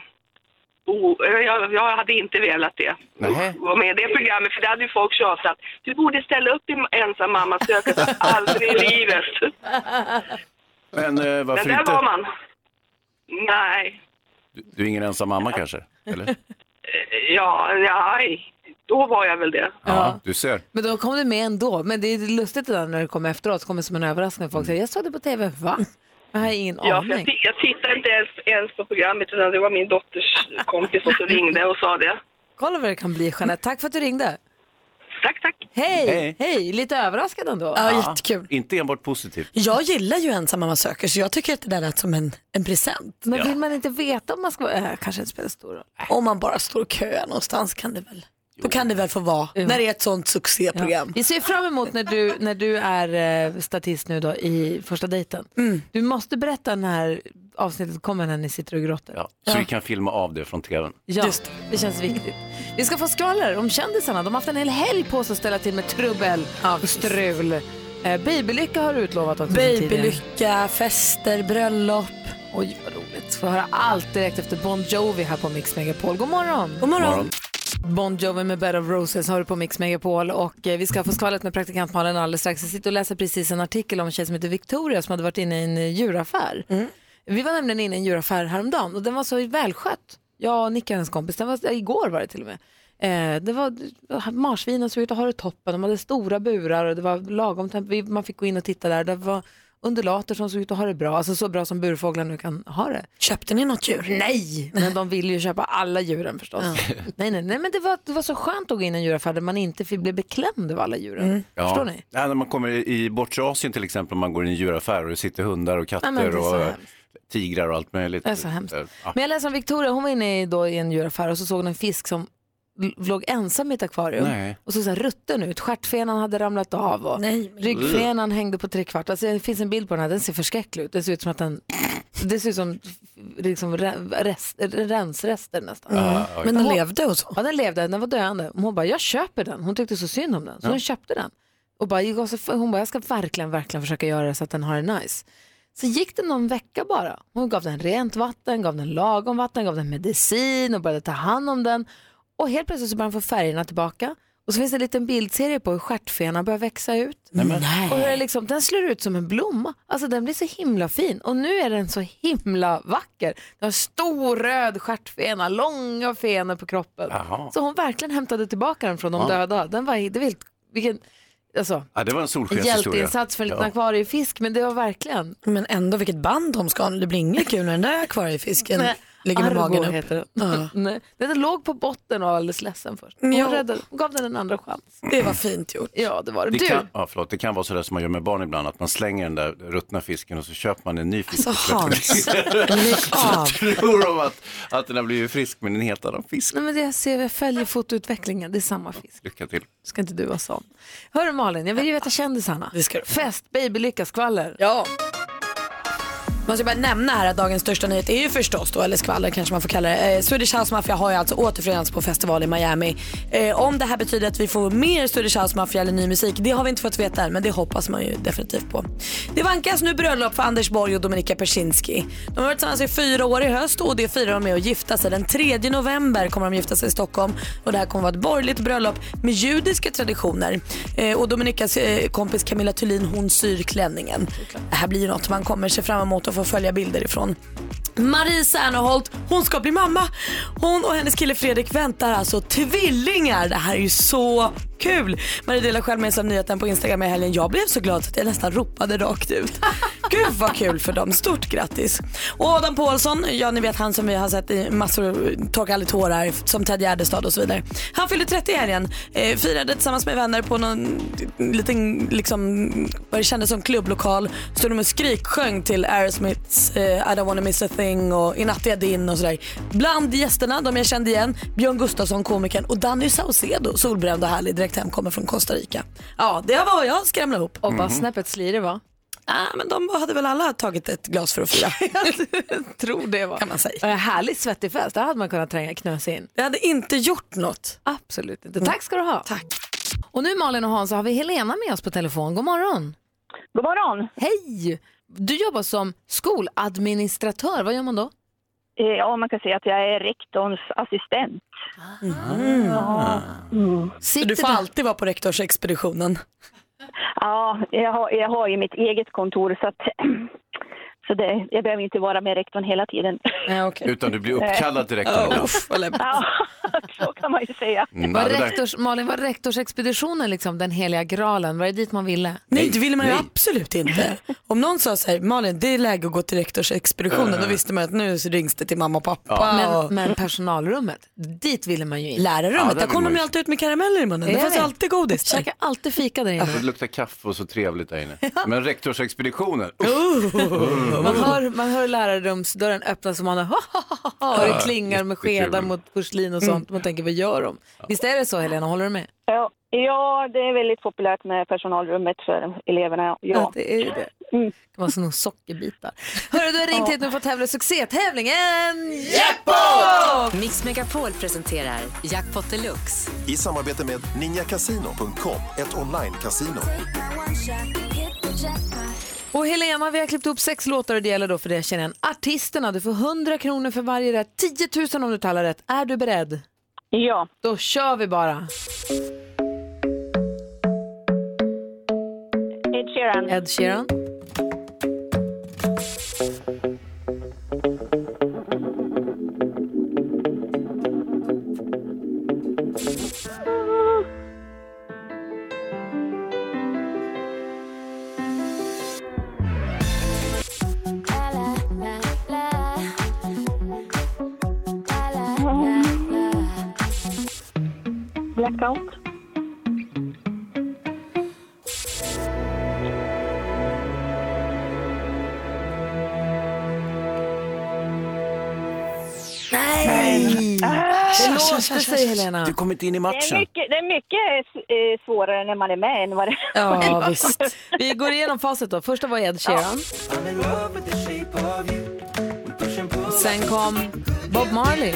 Speaker 9: o- eh, jag, jag hade inte velat det
Speaker 10: Nej.
Speaker 9: vara med i det programmet för det hade ju folk tjatat. Du borde ställa upp i ensam mamma söker fast aldrig i livet.
Speaker 10: Men eh,
Speaker 9: Men
Speaker 10: varför
Speaker 9: där var
Speaker 10: inte?
Speaker 9: man. Nej,
Speaker 10: Du är ingen ensam mamma kanske? Eller?
Speaker 9: ja, nej. Då var jag väl det.
Speaker 10: Ja, du ser.
Speaker 5: Men då kom du med ändå. Men det är lustigt det där när det kommer efteråt, kommer som en överraskning. Folk säger, jag såg det på tv, va? Jag har ingen
Speaker 9: Mm. Ja, för jag,
Speaker 5: aning.
Speaker 9: ti- jag tittade inte ens, ens på programmet utan det var min dotters kompis som så ringde och sa det.
Speaker 5: Kolla vad det kan bli, Jeanette. Tack för att du ringde.
Speaker 9: Tack, tack.
Speaker 5: Hej, hej.
Speaker 10: Hej.
Speaker 5: Lite överraskad ändå.
Speaker 10: Inte enbart positivt.
Speaker 7: Jag gillar ju ensam mamma söker så jag tycker att det där lät som en, en present.
Speaker 5: Men vill man inte veta om man ska vara... Äh, kanske inte spelar stor roll.
Speaker 7: Om man bara står och köar någonstans kan det väl, då kan det väl få vara, när det är ett sånt succéprogram.
Speaker 5: Vi ser fram emot när du, när du är eh, statist nu då i första dejten. Du måste berätta när avsnittet kommer när ni sitter och grottar.
Speaker 10: Ja. Så vi kan filma av det från tvn.
Speaker 5: Ja, det. känns viktigt. Vi ska få skvaller om kändisarna. De har haft en hel helg på sig att ställa till med trubbel och strul. Eh, babylycka har du utlovat också.
Speaker 7: Babylycka, fester, bröllop.
Speaker 5: Oj, vad roligt. Får höra allt direkt efter Bon Jovi här på Mix Megapol. God morgon!
Speaker 7: God morgon. morgon.
Speaker 5: Bon Jovi med Bed of Roses har du på Mix Megapol och eh, vi ska få skvallret med praktikant Malin alldeles strax. Jag sitter och läser precis en artikel om en tjej som heter Victoria som hade varit inne i en eh, djuraffär.
Speaker 7: Mm.
Speaker 5: Vi var nämligen inne i en djuraffär häromdagen och den var så välskött. Jag och Nicke, hennes kompis, den var, ja, igår var det till och med. Eh, det var marsvinen såg ut att ha det toppen, de hade stora burar och det var lagom temp- vi- man fick gå in och titta där. Det var undulater som såg ut att ha det bra, alltså så bra som burfåglar nu kan ha det.
Speaker 7: Köpte ni något djur?
Speaker 5: Nej, men de ville ju köpa alla djuren förstås. nej, nej, nej, men det var, det var så skönt att gå in i en djuraffär där man inte fick bli beklämd av alla djuren.
Speaker 7: Mm.
Speaker 10: Ja.
Speaker 5: Förstår ni?
Speaker 10: Ja, när man kommer i bortre Asien till exempel, om man går i en djuraffär och det sitter hundar och katter
Speaker 5: Ja, men det är så
Speaker 10: och eh,
Speaker 5: hemskt.
Speaker 10: tigrar och allt möjligt.
Speaker 5: Det är så hemskt.
Speaker 10: Eh, ja.
Speaker 5: Men jag läste om Victoria, hon var inne i, då, i en djuraffär och så såg hon en fisk som l- låg ensam i ett akvarium
Speaker 10: Nej.
Speaker 5: och såg så här rutten ut. Stjärtfenan hade ramlat av och ryggfenan hängde på trekvart. Alltså, det finns en bild på den här, den ser förskräcklig ut. Det ser ut som att den det ser ut som liksom, re- rest, rensrester nästan.
Speaker 7: Mm. Ja, ja, ja. Men den levde
Speaker 5: och så? Ja, den levde. Den var döende. Hon bara, jag köper den. Hon tyckte så synd om den, så
Speaker 7: Ja.
Speaker 5: hon köpte den. Och bara, gick också- hon bara, jag ska verkligen, verkligen försöka göra det så att den har det nice. Så gick det någon vecka bara. Hon gav den rent vatten, gav den lagom vatten, gav den medicin och började ta hand om den. Och helt plötsligt så började den få färgerna tillbaka. Och så finns det en liten bildserie på hur stjärtfenan börjar växa ut. Och hur det liksom, den slår ut som en blomma. Alltså den blir så himla fin. Och nu är den så himla vacker. Den har stor röd stjärtfena, långa fenor på kroppen.
Speaker 10: Jaha.
Speaker 5: Så hon verkligen hämtade tillbaka den från de
Speaker 10: Ja.
Speaker 5: döda. Den var, det var helt, vilken, alltså,
Speaker 10: Ja, det var en
Speaker 5: en
Speaker 10: solskenshistoria.
Speaker 5: hjälteinsats för en liten akvariefisk, men det var verkligen
Speaker 7: Men ändå vilket band de ska ha, det blir inget kul med den där akvariefisken
Speaker 5: Nej.
Speaker 7: ligger med magen upp.
Speaker 5: heter den.
Speaker 7: Ja.
Speaker 5: Nej, den låg på botten och var alldeles ledsen först. Hon,
Speaker 7: Ja.
Speaker 5: räddade, hon gav den en andra chans.
Speaker 7: Det var fint gjort.
Speaker 5: Ja, det var det.
Speaker 10: Det
Speaker 5: du,
Speaker 10: kan, ja, förlåt, det kan vara sådär som man gör med barn ibland, att man slänger den där ruttna fisken och så köper man en ny fisk.
Speaker 5: Alltså,
Speaker 10: på
Speaker 5: Hans,
Speaker 10: slutet.
Speaker 5: lägg av.
Speaker 10: Så tror de att, att den har blivit frisk, men den heter en fisk.
Speaker 5: Nej, men det jag ser, jag följer fotoutvecklingen, det är samma fisk.
Speaker 10: Lycka till.
Speaker 5: Ska inte du vara sån? Hörru Malin, jag vill ju veta kändisarna. Det ska Fest, babylycka, skvaller.
Speaker 7: Ja. Man ska bara nämna här att dagens största nyhet är ju förstås då, eller skvaller kanske man får kalla det. Eh, Swedish House Mafia har ju alltså återförenats på festival i Miami. Eh, om det här betyder att vi får mer Swedish House Mafia eller ny musik, det har vi inte fått veta än, men det hoppas man ju definitivt på. Det vankas nu bröllop för Anders Borg och Dominika Persinski. De har varit tillsammans i fyra år i höst och det firar de med att gifta sig. Den 3 november kommer de gifta sig i Stockholm och det här kommer vara ett borgerligt bröllop med judiska traditioner. Eh, och Dominikas eh, kompis Camilla Thulin, hon syr klänningen. Det här blir ju något man kommer se fram emot att få följa bilder ifrån. Marie Serneholt, hon ska bli mamma. Hon och hennes kille Fredrik väntar alltså tvillingar. Det här är ju så kul. Marie delar själv med sig av nyheten på Instagram i helgen. Jag blev så glad så att jag nästan ropade rakt ut. Gud vad kul för dem. Stort grattis. Och Adam Pålsson, ja ni vet han som vi har sett i massor, Torka aldrig tårar, som Ted Gärdestad och så vidare. Han fyllde 30 i helgen. Eh, firade tillsammans med vänner på någon liten, liksom, vad det kändes som klubblokal. Stod de och skriksjöng till Aerosmiths eh, I don't wanna miss a thing och I natt är jag din och sådär. Bland gästerna, de jag kände igen, Björn Gustafsson, komikern och Danny Saucedo, solbränd och härlig, direkt hemkommen från Costa Rica. Ja, det var vad jag skramlade ihop.
Speaker 5: Och bara snäppet slirig va?
Speaker 7: Ah, men de hade väl alla tagit ett glas för att fira.
Speaker 5: Tror det va?
Speaker 7: Kan man säga.
Speaker 5: En härlig svettig fest, där hade man kunnat tränga knös in.
Speaker 7: Jag hade inte gjort något.
Speaker 5: Absolut inte. Tack ska du ha. Tack. Och nu Malin och Hans så har vi Helena med oss på telefon. God morgon.
Speaker 16: God morgon.
Speaker 5: Hej! Du jobbar som skoladministratör. Vad gör man då?
Speaker 16: Eh, Ja, man kan säga att jag är rektorns assistent. Ja.
Speaker 7: Så du får alltid vara på rektorsexpeditionen.
Speaker 16: Ja, jag har, jag har ju mitt eget kontor så att så det, jag behöver inte vara med rektorn hela tiden.
Speaker 10: Utan du blir uppkallad direkt. Oh,
Speaker 16: Ja, så kan man ju säga.
Speaker 10: Mm,
Speaker 5: Var
Speaker 10: ja, det där-
Speaker 5: rektors, Malin, var rektorsexpeditionen liksom den heliga graalen? Var det dit man ville?
Speaker 7: Nej, det ville man ju absolut inte. Om någon sa så här, Malin det är läge att gå till rektorsexpeditionen, då visste man att nu så rings det till mamma och pappa. och...
Speaker 5: Men, men personalrummet, dit ville man ju in.
Speaker 7: Lärarrummet, där kom de ju alltid ut med karameller i munnen. Det
Speaker 5: Jag
Speaker 7: fanns
Speaker 5: vet.
Speaker 7: alltid godis. där.
Speaker 5: Käkar alltid fika där
Speaker 10: Och
Speaker 5: inne.
Speaker 10: det luktar kaffe och så trevligt där inne. Men rektorsexpeditionen.
Speaker 5: Oh. Man hör, man hör lärarrumsdörren öppnas och man hör, och
Speaker 10: Ja,
Speaker 5: det klingar med
Speaker 10: jättekul.
Speaker 5: skedar mot porslin och sånt. Man tänker, vad gör de? Visst är det så Helena, håller du med?
Speaker 16: Ja, ja, det är väldigt populärt med personalrummet för eleverna. Ja,
Speaker 5: det är ju det. Kan man sno sockerbitar. Hörru, du har ringt hit nu för att tävla i succétävlingen Jackpot!
Speaker 17: Mix Megapol presenterar Jackpot Deluxe.
Speaker 18: I samarbete med ninjakasino.com, ett online-casino.
Speaker 5: Och Helena, vi har klippt upp sex låtar och det gäller då för dig att känna igen artisterna. Du får 100 kronor för varje rätt, 10 000 om du talar rätt. Är du beredd?
Speaker 16: Ja.
Speaker 5: Då kör vi bara.
Speaker 16: Ed Sheeran.
Speaker 5: Ed Sheeran.
Speaker 16: Blackout.
Speaker 5: Nej!
Speaker 16: Det
Speaker 5: låste sig Helena.
Speaker 10: Du kom inte in
Speaker 16: Det
Speaker 10: i
Speaker 16: är
Speaker 10: matchen.
Speaker 16: mycket, det är mycket eh, svårare när man är med än vad det
Speaker 5: Ja, visst. Vi går igenom facit då. Första var Ed Sheeran. Sen kom Bob Marley.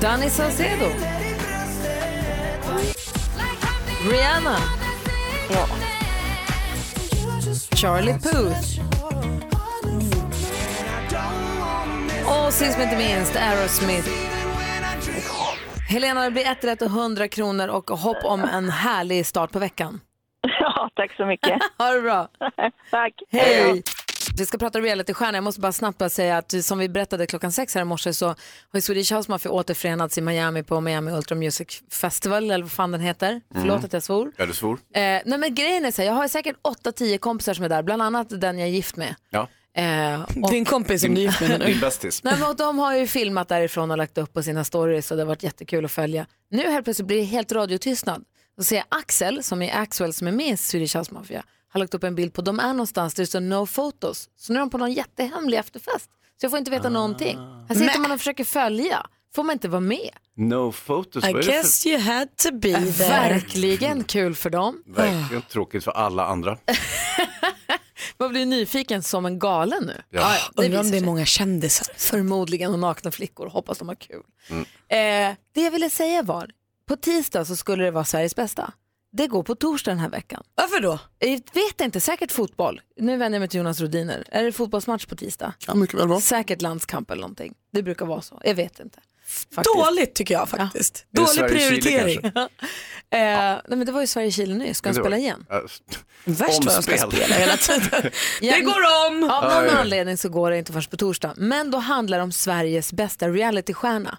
Speaker 5: Danny Saucedo. Rihanna. Charlie Puth. Och sist men inte minst Aerosmith. Helena, det blir ett rätt och 100 kronor och hopp om en härlig start på veckan.
Speaker 16: Ja, tack så mycket.
Speaker 5: ha det bra.
Speaker 16: Tack.
Speaker 5: Hej! Vi ska prata realitystjärnor. Jag måste bara snabbt bara säga att som vi berättade klockan sex här i morse så har ju Swedish House Mafia återförenats i Miami på Miami Ultra Music Festival eller vad fan den heter. Förlåt att jag svor.
Speaker 10: Ja, du svor.
Speaker 5: Eh, nej men grejen är så här, jag har säkert 8-10 kompisar som är där, bland annat den jag är gift med.
Speaker 10: Ja.
Speaker 5: Eh, och-
Speaker 7: Din kompis som du är gift med nu.
Speaker 10: Din bästis.
Speaker 5: Nej, men de har ju filmat därifrån och lagt upp på sina stories och det har varit jättekul att följa. Nu helt plötsligt blir det helt radiotystnad. Då ser jag Axel, som är Axwell som är med i Swedish House Mafia, har lagt upp en bild på de är någonstans där det står no photos. Så nu är de på någon jättehemlig efterfest. Så jag får inte veta någonting. Här sitter man och försöker följa. Får man inte vara med?
Speaker 10: No photos. vad är det för-
Speaker 5: you had to be
Speaker 7: there.
Speaker 5: Verkligen kul för dem.
Speaker 10: Verkligen tråkigt för alla andra.
Speaker 5: Man blir nyfiken som en galen nu.
Speaker 10: Ja.
Speaker 5: Undrar om det är många kändisar. Förmodligen och nakna flickor. Hoppas de har kul.
Speaker 10: Mm.
Speaker 5: Eh, det jag ville säga var, på tisdag så skulle det vara Sveriges bästa. Det går på torsdag den här veckan.
Speaker 7: Varför då?
Speaker 5: Jag vet inte, säkert fotboll. Nu vänder jag mig till Jonas Rodiner. Är det fotbollsmatch på tisdag?
Speaker 13: Kan mycket väl vara.
Speaker 5: Säkert landskamp eller någonting. Det brukar vara så. Jag vet inte.
Speaker 7: Dåligt tycker jag faktiskt.
Speaker 5: Det är
Speaker 7: Dålig
Speaker 5: Sverige-Chile
Speaker 7: prioritering.
Speaker 5: kanske. Eh, nej, men det var ju Sverige-Chile nyss. Ska han
Speaker 10: Det var-
Speaker 5: spela igen?
Speaker 10: Ja.
Speaker 5: Värst vad de ska
Speaker 10: Omspel.
Speaker 5: spela hela tiden.
Speaker 7: Det går om!
Speaker 5: Av någon
Speaker 7: Ja, ja, ja.
Speaker 5: anledning så går det inte först på torsdag. Men då handlar det om Sveriges bästa realitystjärna.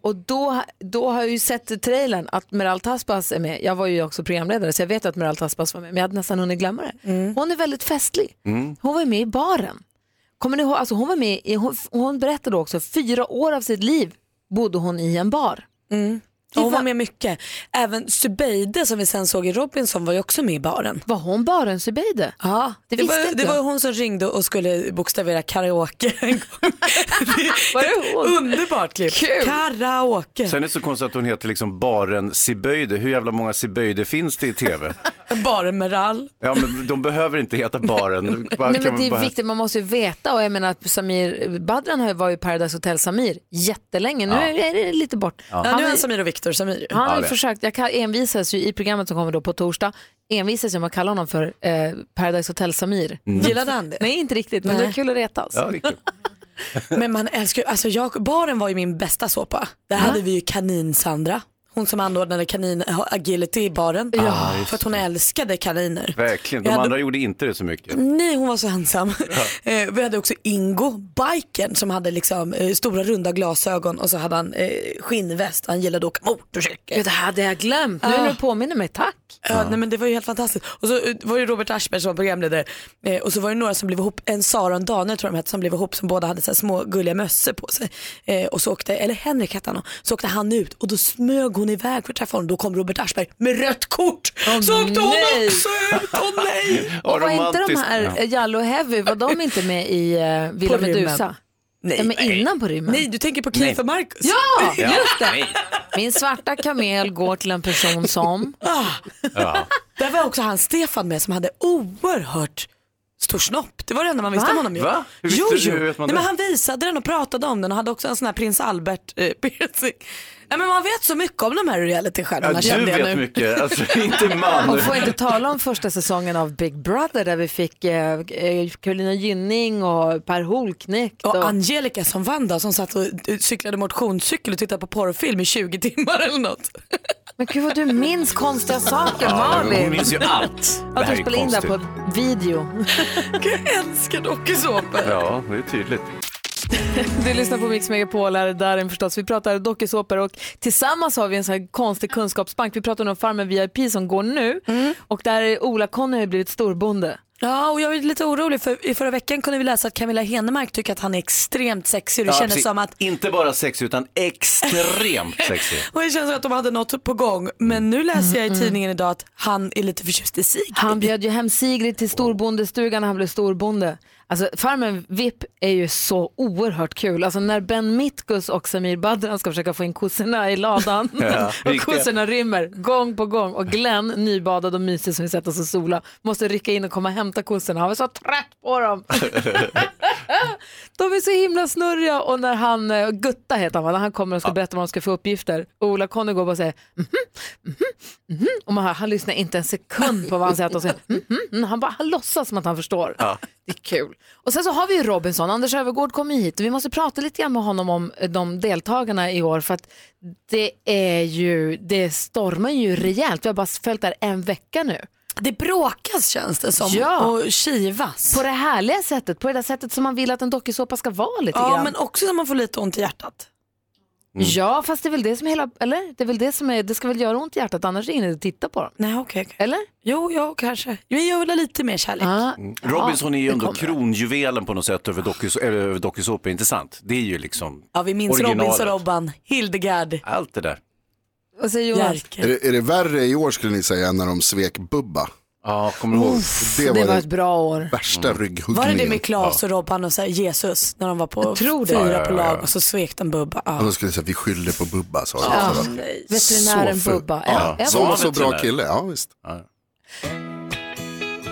Speaker 5: Och då, då har jag ju sett trailern att Meral Taspas är med. Jag var ju också programledare så jag vet att Meral Taspas var med men jag hade nästan hunnit glömma det.
Speaker 7: Mm.
Speaker 5: Hon är väldigt festlig. Hon var ju med i baren. Kommer ni ihåg, alltså hon var med i, hon, hon berättade också fyra år av sitt liv bodde hon i en bar.
Speaker 7: Ja, Mm. Hon var med mycket. Även Subeide som vi sen såg i Robinson var ju också med i baren.
Speaker 5: Var hon baren Subeide?
Speaker 7: Ja,
Speaker 5: det
Speaker 7: det, var,
Speaker 5: visste inte
Speaker 7: det var
Speaker 5: jag.
Speaker 7: hon som ringde och skulle bokstavera karaoke en gång.
Speaker 5: Var det hon?
Speaker 7: Underbart klipp. Karaoke.
Speaker 10: Sen är det så konstigt att hon heter liksom Baren Siböjde. Hur jävla många Siböjde finns det i tv?
Speaker 7: Baren med rall.
Speaker 10: Ja, men de behöver inte heta Baren. Bara- kan
Speaker 5: Nej, men
Speaker 10: man
Speaker 5: det är
Speaker 10: bara-
Speaker 5: viktigt, man måste ju veta och jag menar att Samir Badran har ju- var ju Paradise Hotel Samir jättelänge, nu
Speaker 7: Ja.
Speaker 5: är det lite bort.
Speaker 7: Ja. nu är
Speaker 5: har
Speaker 7: han
Speaker 5: ju-
Speaker 7: Samir och Viktor Samir.
Speaker 5: han har ju försökt, jag kan- envisas ju i programmet som kommer då på torsdag, envisas jag med att kalla honom för eh, Paradise Hotel Samir.
Speaker 7: Mm. Gillade han det?
Speaker 5: Nej inte riktigt, men
Speaker 7: Nej.
Speaker 5: det är kul att retas.
Speaker 7: Ja, det är kul. Men man älskar ju, alltså jag, baren var ju min bästa såpa. Där hade vi ju kanin-Sandra. Hon som anordnade kanin-agility i baren.
Speaker 10: Ja, just
Speaker 7: för att hon älskade kaniner.
Speaker 10: Verkligen, de
Speaker 7: Jag hade-
Speaker 10: andra gjorde inte det så mycket.
Speaker 5: Mm,
Speaker 7: Nej, hon var så ensam. Eh, Vi hade också Ingo, biken som hade liksom eh, stora runda glasögon och så hade han eh, skinnväst. Han gillade att åka motorcykel.
Speaker 5: Gud, det hade jag glömt. Nu när du påminner mig, tack.
Speaker 7: Ja, nej, men det var ju helt fantastiskt. Och så eh, var ju Robert Aschberg som var programledare eh, och så var det några som blev ihop, en Sara och en Daniel tror jag de hette, som blev ihop som båda hade så här små gulliga mössor på sig. Eh, och så åkte, eller Henrik hette han, så åkte han ut och då smög hon iväg för att träffa honom. Då kom Robert Aschberg med rött kort. så åkte hon
Speaker 5: nej.
Speaker 7: också ut, åh nej!
Speaker 5: Och var inte de här eh, Jallo och Heavy, var de inte med i eh, Villa
Speaker 7: På rymmen.
Speaker 5: Medusa?
Speaker 7: Nej,
Speaker 5: ja, men innan på rymmen.
Speaker 7: Nej, du tänker på Keith och Marcus.
Speaker 5: Ja, just det. Min svarta kamel går till en person som...
Speaker 10: Ja.
Speaker 7: Där var också han Stefan med som hade oerhört stor snopp. Det var det enda man visste
Speaker 10: Va?
Speaker 7: om honom. ju.
Speaker 10: Va? Hur visste-
Speaker 7: jo, jo.
Speaker 10: hur vet man
Speaker 7: Nej,
Speaker 10: det?
Speaker 7: men han visade den och pratade om den och hade också en sån här prins Albert eh, piercing. Nej, men man vet så mycket om de här
Speaker 10: Ja,
Speaker 7: realitystjärnorna
Speaker 10: du
Speaker 7: kände jag
Speaker 10: vet
Speaker 7: nu.
Speaker 10: mycket, alltså inte man.
Speaker 5: Och får inte tala om första säsongen av Big Brother där vi fick eh, eh, Carolina Gynning och Per Holknekt.
Speaker 7: Och Angelica som vann då, som satt och eh, cyklade motionscykel och tittade på porrfilm i 20 timmar eller något.
Speaker 5: Men gud vad du minns konstiga saker
Speaker 10: Ja,
Speaker 5: Malin.
Speaker 10: hon minns ju allt. Det
Speaker 5: Att
Speaker 10: här
Speaker 5: du
Speaker 10: är
Speaker 5: spelade in det här på video.
Speaker 7: jag älskar dokusåpor.
Speaker 10: Ja, det är tydligt.
Speaker 5: Du lyssnar på Mix Megapol här, där förstås. Vi pratar dokusåpor och tillsammans har vi en sån här konstig kunskapsbank. Vi pratar om Farmen VIP som går nu och där är Ola-Conny har ju blivit storbonde.
Speaker 7: Ja, och jag är lite orolig för i förra veckan kunde vi läsa att Camilla Henemark tycker att han är extremt sexig och det
Speaker 10: Ja,
Speaker 7: kändes
Speaker 10: precis.
Speaker 7: som att
Speaker 10: Inte bara sexig utan extremt sexig.
Speaker 7: Och det känns som att de hade något på gång. Men nu läser jag i tidningen idag att han är lite förtjust i Sigrid.
Speaker 5: Mm, Han bjöd ju hem Sigrid till storbondestugan när han blev storbonde. Alltså Farmen VIP är ju så oerhört kul. Alltså när Ben Mitkus och Samir Badran ska försöka få in kossorna i ladan
Speaker 8: Ja,
Speaker 5: och
Speaker 8: riktiga.
Speaker 5: kossorna rymmer gång på gång och Glenn, nybadad och mysig som vill sätta sig och sola, måste rycka in och komma och hämta kossorna. Han var så trött på dem. De är så himla snurriga och när han, eh, Gutta heter han va, när han kommer och ska berätta vad de ska få uppgifter, och Ola Conny går bara och säger mhm, mhm, mhm. och man hör, han lyssnar inte en sekund på vad han säger, att de säger mhm, mhm. han bara han låtsas som att han förstår.
Speaker 8: Ja.
Speaker 5: Det är kul. Och sen så har vi ju Robinson, Anders Övergård kommer ju hit och vi måste prata lite grann med honom om eh, de deltagarna i år för att det är ju, det stormar ju rejält, vi har bara följt där en vecka nu.
Speaker 7: Det bråkas känns det som
Speaker 5: ja.
Speaker 7: och kivas.
Speaker 5: På det härliga sättet, på det där sättet som man vill att en dokusåpa ska vara lite
Speaker 7: Ja,
Speaker 5: grann.
Speaker 7: men också som man får lite ont i hjärtat.
Speaker 10: Mm.
Speaker 5: Ja, fast det är väl det som hela, eller? Det är väl det som är, det ska väl göra ont i hjärtat annars är ingen idé att titta på dem.
Speaker 7: Nej, okej.
Speaker 5: Eller?
Speaker 7: Jo, ja, kanske. Vi gör väl lite mer kärlek.
Speaker 5: Ah.
Speaker 10: Mm. Robinson är ju
Speaker 7: det
Speaker 10: ändå
Speaker 7: kommer.
Speaker 10: kronjuvelen på något sätt över dokus- eller över dokusåpor, inte sant? Det är ju liksom
Speaker 7: Ja, vi minns
Speaker 10: originalet.
Speaker 7: Robinson, Robban, Hildegard.
Speaker 10: Allt det där.
Speaker 4: Vad säger
Speaker 7: Jonas?
Speaker 13: Är det, är det värre i år skulle ni säga än när de svek Bubba?
Speaker 10: Ja, kommer du ihåg?
Speaker 13: Det var,
Speaker 7: det var
Speaker 13: den
Speaker 7: ett bra år.
Speaker 13: Värsta
Speaker 7: Var det
Speaker 13: rygghuggningen.
Speaker 7: det med Claes och Robban och så här, Jesus när de var på
Speaker 5: tror det.
Speaker 7: fyra
Speaker 13: Ja, ja, ja,
Speaker 7: på lag
Speaker 13: ja.
Speaker 7: och så svek de Bubba.
Speaker 13: Ja.
Speaker 7: Ja.
Speaker 13: De skulle säga vi skyller på Bubba sa de.
Speaker 7: Ja,
Speaker 13: Så det var-
Speaker 7: nej.
Speaker 5: Veterinären
Speaker 13: Så fult.
Speaker 5: Bubba.
Speaker 13: Ja,
Speaker 5: Ja,
Speaker 13: som var
Speaker 5: jag
Speaker 13: så
Speaker 5: vet.
Speaker 13: bra kille, ja visst.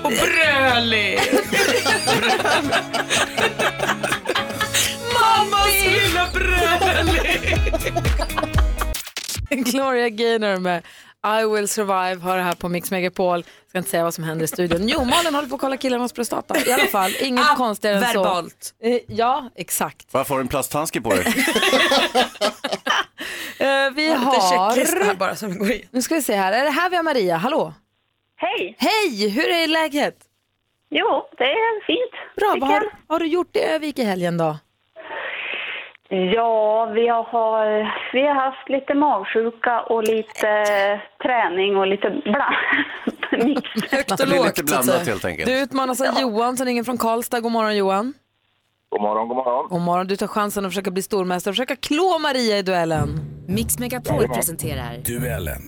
Speaker 7: Och Bröli!
Speaker 19: Mammas lilla
Speaker 5: Gloria Gaynor med I will survive har det här på Mix Megapol. Ska inte säga vad som händer i studion. Jo, Malin håller på att kolla killarnas prostata. I alla fall, inget
Speaker 13: Ah,
Speaker 5: konstigare än så.
Speaker 7: verbalt.
Speaker 5: Eh, Ja, exakt.
Speaker 10: Varför har du en plasthandske på dig?
Speaker 5: Eh, Vi
Speaker 7: Jag har lite checklista
Speaker 5: har...
Speaker 7: här bara som går in.
Speaker 5: Nu ska vi se här. Är det här vi har Maria? Hallå?
Speaker 16: Hej!
Speaker 5: Hej! Hur är läget?
Speaker 16: Jo, det är fint.
Speaker 5: Bra. Vad
Speaker 16: tycker
Speaker 5: har, har du gjort i Övik i helgen då?
Speaker 16: Ja, vi har, vi har haft lite magsjuka och lite träning och lite bla.
Speaker 5: Högt
Speaker 10: Det är lite blandat, helt enkelt.
Speaker 5: Du utmanas av Johan som ringer från Karlstad. God morgon Johan.
Speaker 12: God morgon, god morgon.
Speaker 5: God morgon. Du tar chansen att försöka bli stormästare och försöka klå Maria i duellen.
Speaker 17: Mix Megapol presenterar
Speaker 20: Duellen.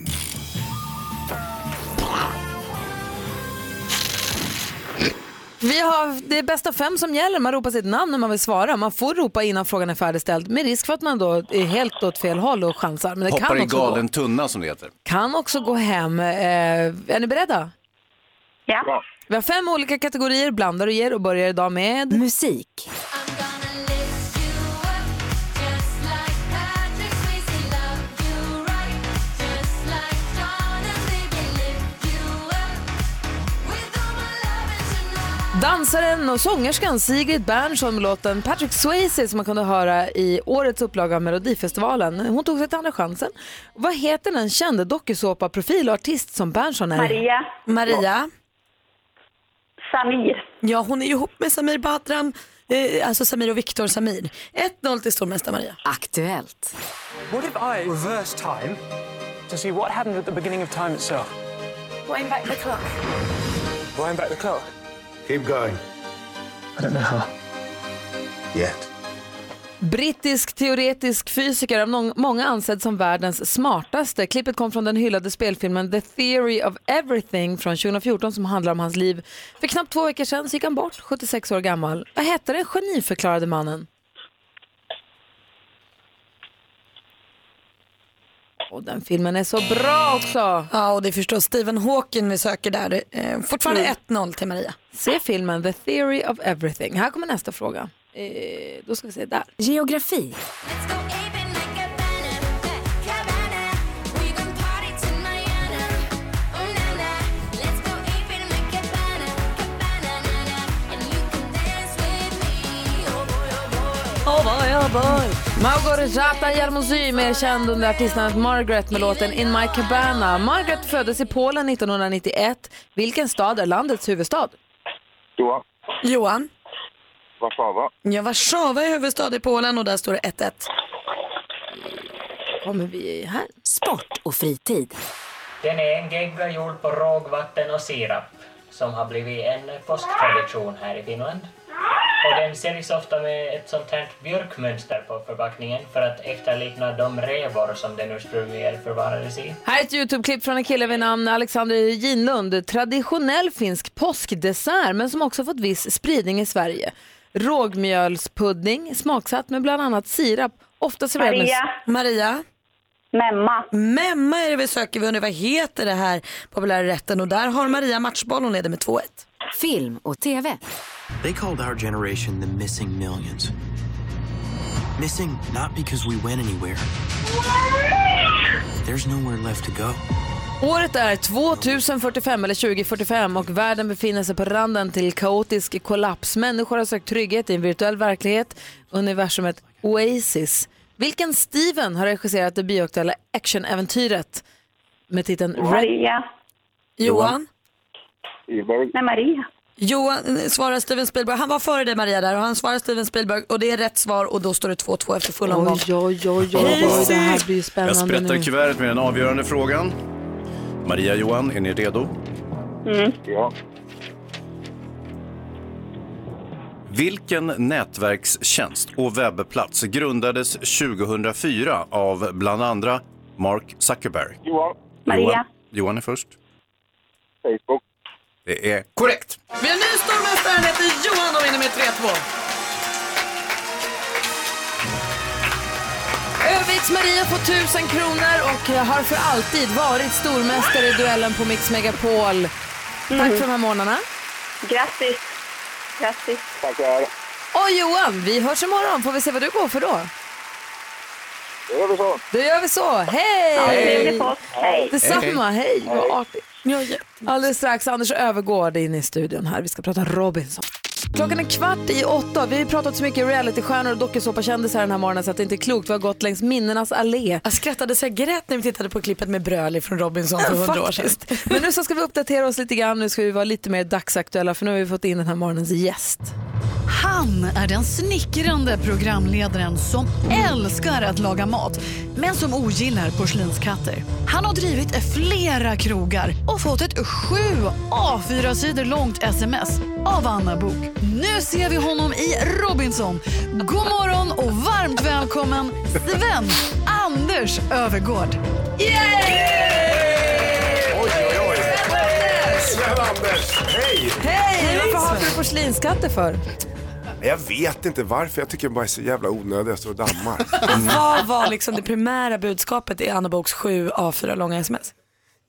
Speaker 5: Vi har, det är bästa fem som gäller. Man ropar sitt namn när man vill svara. Man får ropa innan frågan är färdigställd med risk för att man då är helt åt fel håll och chansar. Men det
Speaker 10: Hoppar
Speaker 5: kan
Speaker 10: i
Speaker 5: också,
Speaker 10: galen tunna som det heter.
Speaker 5: Gå, kan också gå hem. Eh, är ni beredda?
Speaker 16: Ja.
Speaker 5: Vi har fem olika kategorier, blandar och ger och börjar idag med musik. Dansaren och sångerskan Sigrid Bernson med låten Patrick Swayze som man kunde höra i årets upplaga av Melodifestivalen. Hon tog sig till andra chansen. Vad heter den kände dokusåpaprofil och artist som Bernson är?
Speaker 16: Maria.
Speaker 7: Maria.
Speaker 16: Samir.
Speaker 7: Ja, hon är ju ihop med Samir Badran, eh, alltså Samir och Viktor Samir. 1-0 till stormästare Maria.
Speaker 17: Aktuellt.
Speaker 20: What if I reverse time to see what happened at the beginning of time itself?
Speaker 19: Going back the clock.
Speaker 20: Wind back the clock.
Speaker 19: Keep going.
Speaker 20: I don't know how. Yet.
Speaker 5: Brittisk teoretisk fysiker av nång- många ansedd som världens smartaste. Klippet kom från den hyllade spelfilmen The Theory of Everything från 2014 som handlar om hans liv. För knappt två veckor sedan så gick han bort, 76 år gammal. Vad hette den geniförklarade mannen? Och den filmen är så bra också.
Speaker 7: Ja, och det är förstås Stephen Hawking vi söker där. Eh, fortfarande
Speaker 5: Mm.
Speaker 7: 1-0 till Maria.
Speaker 5: Se filmen The Theory of Everything. Här kommer nästa fråga. Eh, då ska vi se där. Geografi.
Speaker 7: Oh,
Speaker 5: Oh boy, oh boy. Margareta Jarmozy, mer känd under artistnamnet Margaret med låten In My Cabana. Margaret föddes i Polen 1991. Vilken stad är landets huvudstad?
Speaker 12: Johan,
Speaker 7: Johan,
Speaker 12: Warszawa.
Speaker 7: ja, Warszawa är huvudstad i Polen och där står det 1-1.
Speaker 5: Kommer vi här?
Speaker 17: Sport och fritid.
Speaker 21: Den är en gegga gjord på rågvatten och sirap som har blivit en påsktradition här i Finland. Och den säljs ofta med ett sånt här björkmönster på förpackningen för att efterlikna de revor som den ursprungligen förvarades i.
Speaker 5: Här är ett Youtube-klipp från en kille vid namn Alexander Ginlund. Traditionell finsk påskdessert men som också fått viss spridning i Sverige. Rågmjölspudding smaksatt med bland annat sirap. Ofta serverad med...
Speaker 7: Maria. Maria.
Speaker 16: Memma.
Speaker 7: Memma är det vi söker. Vi undrar vad heter det här populära rätten och där har Maria matchboll. Hon leder med 2-1.
Speaker 17: Film och TV.
Speaker 20: They called our generation the missing millions. Missing not because we went anywhere. There's nowhere left to go.
Speaker 5: Året är 2045 eller 2045 och världen befinner sig på randen till kaotisk kollaps. Människor har sökt trygghet i en virtuell verklighet, universumet Oasis. Vilken Steven har regisserat det bioaktuella actionäventyret med titeln Red...
Speaker 16: Maria.
Speaker 5: Johan?
Speaker 12: Ivar.
Speaker 16: Nej, Maria.
Speaker 7: Johan eh, svarar Steven Spielberg. Han var före dig Maria där och han svarar Steven Spielberg och det är rätt svar och då står det 2-2 efter full omgång.
Speaker 5: Oj, oj, oj, oj. Det här blir ju
Speaker 10: Jag
Speaker 5: spännande
Speaker 10: sprättar
Speaker 5: nu.
Speaker 10: kuvertet med den avgörande frågan. Maria Johan, är ni redo?
Speaker 16: Mm.
Speaker 12: Ja.
Speaker 10: Vilken nätverkstjänst och webbplats grundades 2004 av bland andra Mark Zuckerberg?
Speaker 12: Johan.
Speaker 10: Johan, Johan är först.
Speaker 12: Facebook.
Speaker 10: Det är korrekt.
Speaker 7: Vi har en ny stormästare, han heter Johan och vinner med 3-2.
Speaker 5: Öviks Maria får 1000 kronor och har för alltid varit stormästare i duellen på Mix Megapol. Tack för de här morgnarna.
Speaker 16: Grattis. Grattis.
Speaker 12: Tackar.
Speaker 5: Och Johan, vi hörs imorgon. Får vi se vad du går för då?
Speaker 12: Då gör vi så.
Speaker 5: Då gör vi så. Hej!
Speaker 12: Ja, trevlig påsk. Hej.
Speaker 5: Detsamma. Hej,
Speaker 12: Hej.
Speaker 5: vad artigt. Alldeles strax, Anders Övergård är inne i studion här. Vi ska prata Robinson. Klockan är kvart i åtta. Vi har ju pratat så mycket realitystjärnor och dokusåpakändisar den här morgonen så att det inte är klokt. Vi har gått längs minnenas allé.
Speaker 7: Jag skrattade så jag grät när vi tittade på klippet med Bröli från Robinson för hundra år sedan.
Speaker 5: Faktiskt. Men nu så ska vi uppdatera oss lite grann. Nu ska vi vara lite mer dagsaktuella för nu har vi fått in den här morgonens gäst.
Speaker 22: Han är den snickrande programledaren som älskar att laga mat men som ogillar porslinskatter. Han har drivit flera krogar och fått ett sju A4-sidor långt sms av Anna Bok. Nu ser vi honom i Robinson. God morgon och varmt välkommen Sven Anders Övergård.
Speaker 19: Oj, oj, oj. Sven-Anders, hej!
Speaker 5: Hej! Varför hatar du porslinsskatter för?
Speaker 6: Jag vet inte varför, jag tycker bara det är så jävla onödigt, jag står och dammar.
Speaker 7: Vad var liksom det primära budskapet i Anna Boks 7 A4 långa sms?